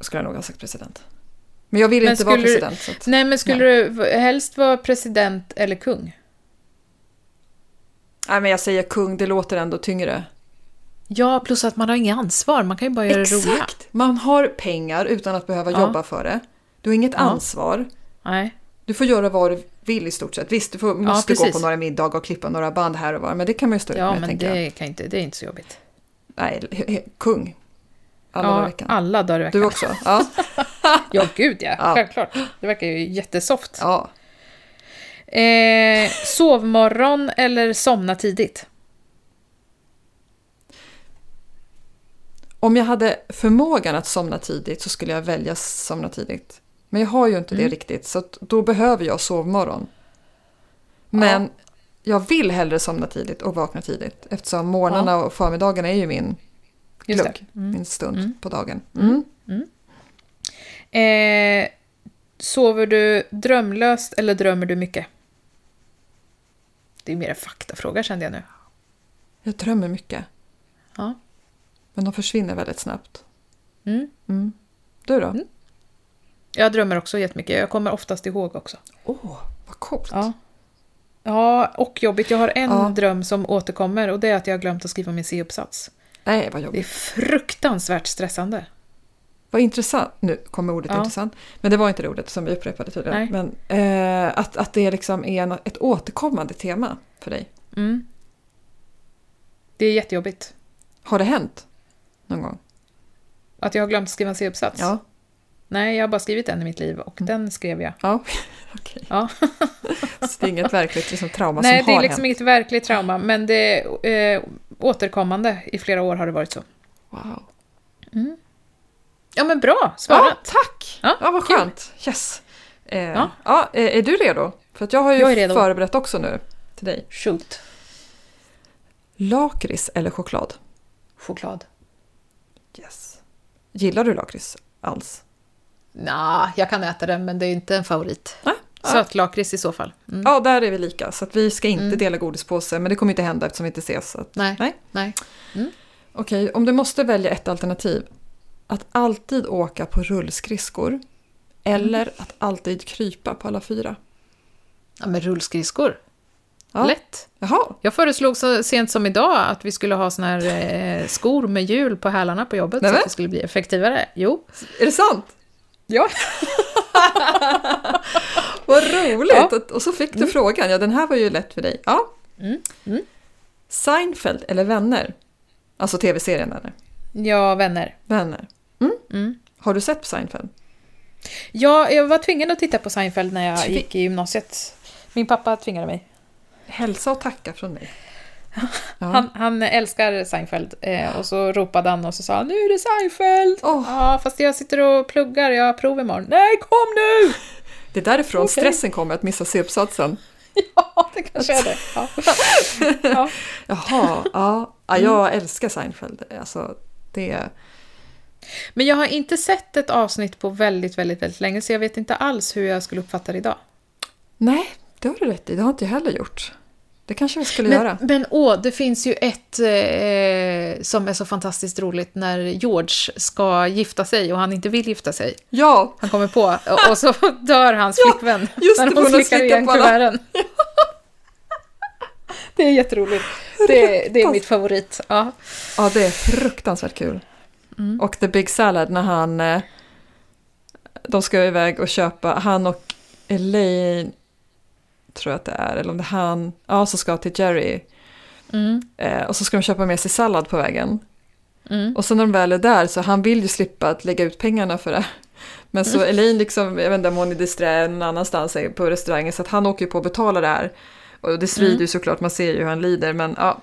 S1: skulle jag nog ha sagt president. Men jag vill
S2: Men
S1: inte vara
S2: skulle du-
S1: president. Så att,
S2: Nej, men skulle du v- helst vara president eller kung?
S1: nej, men jag säger kung, det låter ändå tyngre.
S2: Ja, plus att man har inget ansvar. Man kan ju bara göra det roliga.
S1: Exakt! Man har pengar utan att behöva
S2: Ja.
S1: jobba för det. Du har inget ansvar.
S2: Nej.
S1: Du får göra vad du vill i stort sett. Visst, du får, måste gå
S2: precis.
S1: på några middagar och klippa några band här och var, men det kan man ju stå ut
S2: Ja,
S1: med,
S2: men
S1: tänker jag.
S2: det, kan inte, det är inte så jobbigt.
S1: Nej, he- he- kung. Alla dagar i
S2: Ja,
S1: veckan.
S2: alla dagar i veckan.
S1: Du också? Ja.
S2: Ja, gud ja.
S1: Ja.
S2: Självklart. Det verkar ju jättesoft.
S1: ja.
S2: Eh, sovmorgon eller somna tidigt?
S1: Om jag hade förmågan att somna tidigt så skulle jag välja somna tidigt. Men jag har ju inte
S2: Mm.
S1: det riktigt, så att då behöver jag sovmorgon. Men jag vill hellre somna tidigt och vakna tidigt eftersom morgnarna och förmiddagarna är ju min
S2: Just det. Mm.
S1: klunk, min stund på dagen. Mm.
S2: Eh, sover du drömlöst eller drömmer du mycket? Det är mer en faktafråga kände jag nu.
S1: Jag drömmer mycket,
S2: Ja.
S1: men de försvinner väldigt snabbt.
S2: Mm.
S1: Mm. Du då?
S2: Jag drömmer också jättemycket. Jag kommer oftast ihåg också.
S1: Åh, vad coolt.
S2: Ja. Ja, och jobbigt. Jag har en
S1: Ja.
S2: dröm som återkommer och det är att jag har glömt att skriva min C-uppsats.
S1: Nej, vad
S2: Det är
S1: jobbigt.
S2: fruktansvärt stressande.
S1: Vad intressant. Nu kommer ordet
S2: Ja.
S1: intressant. Men det var inte det ordet som vi upprepade tydligen.
S2: Nej.
S1: Men eh, att, att det liksom är en, ett återkommande tema för dig.
S2: Mm. Det är jättejobbigt.
S1: Har det hänt någon gång?
S2: Att jag har glömt skriva en C-uppsats?
S1: Ja.
S2: Nej, jag har bara skrivit en i mitt liv och den skrev jag.
S1: Ja, okej.
S2: Ja.
S1: Så det är inget verkligt liksom, trauma
S2: Nej,
S1: som
S2: det
S1: har
S2: är liksom
S1: hänt?
S2: inget verkligt trauma, men det är eh, återkommande. I flera år har det varit så.
S1: Wow.
S2: Ja, men bra
S1: Ja,
S2: svarat!
S1: tack! Ja,
S2: Ja,
S1: vad
S2: kul.
S1: skönt. Yes. Eh, ja.
S2: Ja.
S1: eh, är du redo? För att jag har ju
S2: Jag är redo.
S1: förberett också nu till dig.
S2: Shoot.
S1: Lakrits eller choklad?
S2: Choklad.
S1: Yes. Gillar du lakrits alls?
S5: Nja, jag kan äta den, men det är inte en favorit.
S2: Sötlakrits i så fall. Mm.
S1: Ja, där är vi lika. Så att vi ska inte dela godispåse, men det kommer inte hända eftersom vi inte ses. Så att...
S5: Nej.
S1: Nej.
S5: Nej.
S1: Okej, om du måste välja ett alternativ. Att alltid åka på rullskridskor eller att alltid krypa på alla fyra.
S5: Ja, men rullskridskor.
S1: Ja.
S2: Lätt.
S1: Jaha,
S2: Jag föreslog så sent som idag att vi skulle ha såna här eh, skor med hjul på hälarna på jobbet
S1: Nämen.
S2: så att det skulle bli effektivare. Jo.
S1: är det sant?
S2: Ja.
S1: Vad roligt!
S2: Ja.
S1: Att- Och så fick du frågan. Ja, den här var ju lätt för dig. Ja. Mm. Seinfeld eller Vänner? Alltså tv-serien Vänner.
S2: Ja, vänner.
S1: Vänner. Mm. Har du sett Seinfeld?
S2: Ja, jag var tvungen att titta på Seinfeld när jag
S1: Tvi-
S2: gick i gymnasiet. Min pappa tvingade mig.
S1: Hälsa och tacka från mig.
S2: Han, han älskar Seinfeld eh, och så ropade han och så sa han, nu är det Seinfeld!
S1: Åh.
S2: Ja, fast jag sitter och pluggar, jag har prov imorgon. Nej, kom nu!
S1: Det är därifrån stressen kommer, att missa C-uppsatsen.
S2: Ja, det kanske är det. Ja. Ja.
S1: Jaha, ja. ja jag älskar Seinfeld. Alltså, det...
S2: Men jag har inte sett ett avsnitt på väldigt, väldigt, väldigt länge så jag vet inte alls hur jag skulle uppfatta det idag.
S1: Nej, det har du rätt i. Det har inte jag heller gjort. Det kanske jag skulle
S5: Men,
S1: göra.
S5: men åh, det finns ju ett eh, som är så fantastiskt roligt när George ska gifta sig och han inte vill gifta sig.
S1: Ja,
S2: Han kommer på och- och så dör hans
S1: Ja,
S2: flickvän
S1: just det,
S2: när
S1: hon har
S2: hon slickar
S1: slickat
S2: igen
S1: på alla.
S2: kuverten. Det är jätteroligt. Det, är- det är mitt favorit. Ja.
S1: Ja, det är fruktansvärt kul. Och The Big Salad när han... eh, De ska iväg och köpa, han och Elaine tror jag att det är, eller om det är han, ja, som ska till Jerry.
S2: Mm,
S1: Eh, och så ska de köpa med sig sallad på vägen.
S2: mm.
S1: Och sen när de väl är där så han vill ju slippa att lägga ut pengarna för det. Men så Elaine liksom, jag vet inte om hon är disträ någon annanstans eh, på restaurangen så att han åker ju på att betala det här. Och det svider ju såklart, man ser ju hur han lider men ja.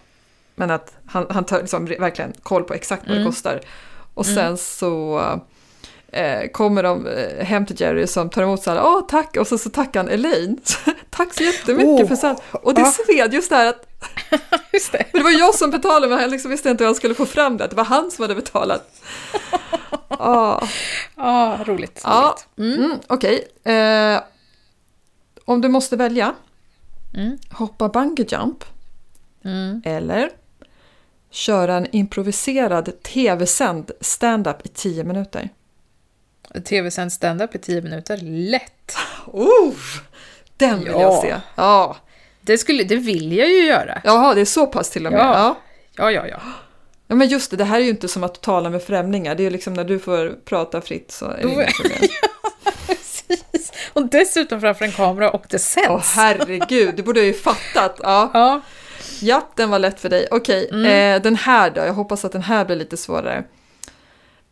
S1: Men att han, han tar liksom re- verkligen koll på exakt vad det kostar. Och sen så eh, kommer de eh, hem till Jerry som tar emot så här, åh tack, och så, så tackar han Elaine. tack så jättemycket för sen. Och det sved just det här att
S2: Just det.
S1: men det var jag som betalade men jag liksom visste inte hur han skulle få fram det, att det var han som hade betalat. Ah,
S2: Ja, roligt.
S1: ja,
S2: roligt.
S1: mm, okej. Eh, om du måste välja,
S2: Mm.
S1: hoppa bungee jump
S2: Mm.
S1: eller köra en improviserad tv-sänd stand-up i 10 minuter.
S2: Tv-sänd stand-up i tio minuter. Lätt!
S1: Oh, den vill jag
S2: Ja.
S1: se! Ja.
S2: Det, skulle, det vill jag ju göra.
S1: Jaha, det är så pass till och med.
S2: Ja.
S1: Ja.
S2: Ja, ja, ja.
S1: Ja, men just det, det här är ju inte som att tala med främlingar. Det är ju liksom när du får prata fritt så är det
S2: Då-
S1: inga problem.
S2: Precis. Och dessutom framför en kamera och det sänds.
S1: Åh herregud, det borde jag ju fattat. Ja,
S2: Ja.
S1: ja den var lätt för dig. Okej, eh, den här då. Jag hoppas att den här blir lite svårare.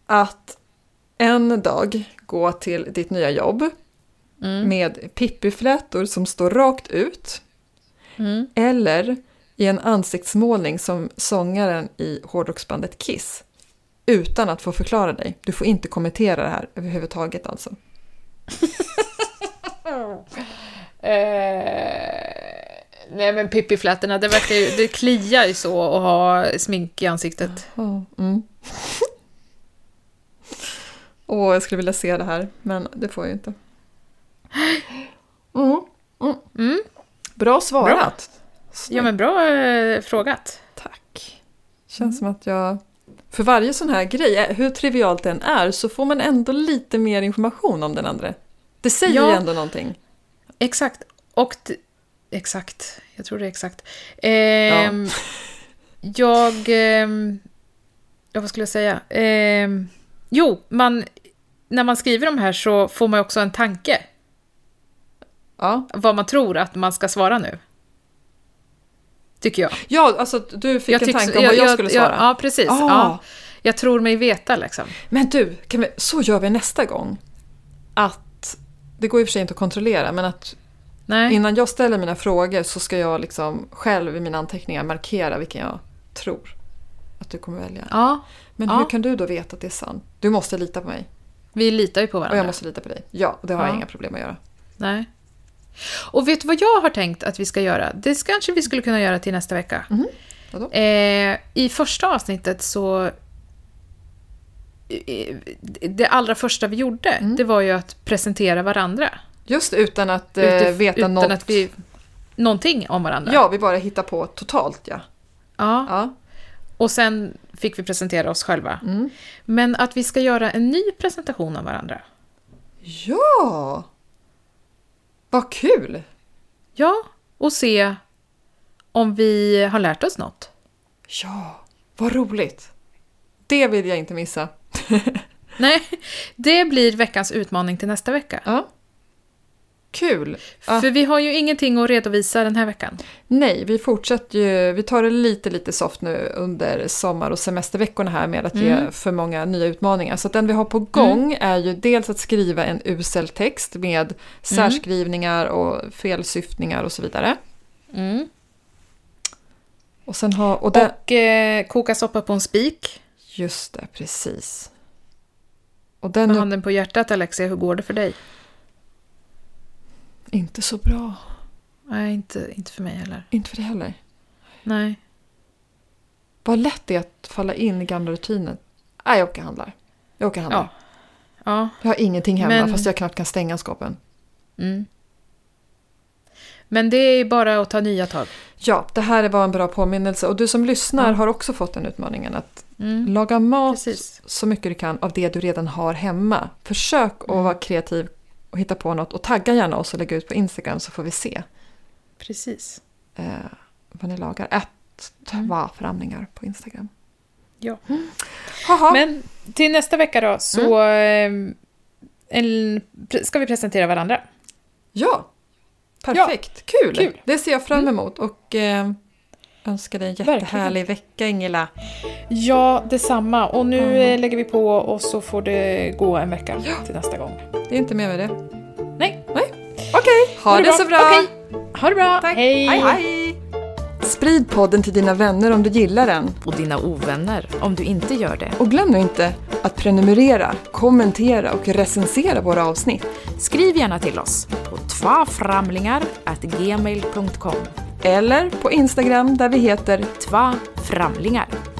S1: Att en dag gå till ditt nya jobb
S2: Mm,
S1: med pippiflätor som står rakt ut.
S2: mm.
S1: Eller i en ansiktsmålning som sångaren i hårdrocksbandet Kiss. Utan att få förklara dig. Du får inte kommentera det här överhuvudtaget alltså.
S2: Eh, nej men pippiflätorna, det, verkar ju, det kliar ju så att ha smink i ansiktet.
S1: Ja, mm. Åh, jag skulle vilja se det här, men det får jag ju inte. Mm. Mm. Bra svarat!
S2: Ja men bra eh, frågat.
S1: Tack. Mm. Känns som att jag... För varje sån här grej, eh, hur trivialt den är, så får man ändå lite mer information om den andra. Det säger
S2: Ja.
S1: ju ändå någonting.
S2: Exakt. Och... t- Exakt. Jag tror det är exakt.
S1: Ja.
S2: Ehm, Jag... ehm, ja, vad skulle jag säga? Ehm, jo, man, när man skriver de här så får man ju också en tanke.
S1: Ja,
S2: Vad man tror att man ska svara nu. Tycker jag.
S1: ja alltså du fick en
S2: tycks-
S1: tanke om vad jag, skulle svara.
S2: Ja, precis.
S1: Ah.
S2: Ja. Jag tror mig veta liksom.
S1: Men du, kan vi, så gör vi nästa gång. Att, det går i och för sig inte att kontrollera, men att
S2: Nej.
S1: Innan jag ställer mina frågor så ska jag liksom själv i mina anteckningar markera vilken jag tror att du kommer välja.
S2: Ja,
S1: Men
S2: ja.
S1: hur kan du då veta att det är sant? Du måste lita på mig
S2: vi litar ju på varandra.
S1: och jag måste lita på dig. Ja, och det har jag
S2: Ja.
S1: inga problem att göra.
S2: Nej. Och vet du vad jag har tänkt att vi ska göra? Det kanske vi skulle kunna göra till nästa vecka.
S1: Mhm. Vadå?
S2: Eh, I första avsnittet så... eh, Det allra första vi gjorde,
S1: Mm.
S2: det var ju att presentera varandra.
S1: Just det, utan att eh,
S2: Utif-
S1: veta
S2: utan
S1: något.
S2: att vi... Någonting om varandra.
S1: Ja, vi bara hittar på totalt ja.
S2: Ja.
S1: ja.
S2: Och sen fick vi presentera oss själva.
S1: Mm.
S2: Men att vi ska göra en ny presentation av varandra.
S1: Ja! Vad kul!
S2: Ja, och se om vi har lärt oss något.
S1: Ja, vad roligt! Det vill jag inte missa.
S2: Nej, det blir veckans utmaning till nästa vecka.
S1: Ja. Kul! Ja.
S2: För vi har ju ingenting att redovisa den här veckan.
S1: Nej, vi fortsätter ju. Vi tar det lite, lite soft nu under sommar och semesterveckorna här med att
S2: Mm.
S1: ge för många nya utmaningar. Så att den vi har på gång är ju dels att skriva en usel text
S2: Mm.
S1: med särskrivningar och felsyftningar och så vidare. Och sen ha... Och det,
S2: Och eh, koka soppa på en spik.
S1: just det, precis. Och den
S2: Med
S1: är
S2: handen på hjärtat Alexia, hur går det för dig?
S1: inte så bra.
S2: Nej, inte, inte för mig heller.
S1: Inte för det heller.
S2: Nej.
S1: Vad lätt det är att falla in i gamla rutiner. Nej, jag åker och handlar. Jag åker och handlar.
S2: Ja. Ja.
S1: Jag har ingenting hemma
S2: Men-
S1: fast jag knappt kan stänga skåpen.
S2: Mm. Men det är bara att ta nya tag.
S1: Ja, det här var en bra påminnelse. Och du som lyssnar har också fått den utmaningen att
S2: Mm.
S1: laga mat
S2: Precis.
S1: så mycket du kan av det du redan har hemma. Försök att vara kreativ och hitta på något och tagga gärna oss och lägg ut på Instagram så får vi se
S2: Precis.
S1: eh, vad ni lagar. Ett två framningar på Instagram. Mm.
S2: Ja.
S1: Haha.
S2: Men till nästa vecka då så
S1: Mm.
S2: eh, en, pre- ska vi presentera varandra.
S1: ja, perfekt. Kul.
S2: kul.
S1: Det ser jag fram emot och eh, önskar dig en
S2: Verkligen.
S1: jättehärlig vecka Ingela.
S2: Ja, detsamma. Och nu
S1: Mm.
S2: eh, lägger vi på och så får det gå en vecka till nästa gång.
S1: Det är inte mer med det.
S2: Nej,
S1: Okej, ha, det, så bra.
S2: Okej. Ha det bra.
S1: Tack. hej, hej. Sprid podden till dina vänner om du gillar den.
S2: Och dina ovänner, om du inte gör det.
S1: Och glöm nu inte att prenumerera, kommentera och recensera våra avsnitt.
S2: Skriv gärna till oss på tvaframlingar.gmail.com.
S1: Eller på Instagram där vi heter
S2: Tvaframlingar.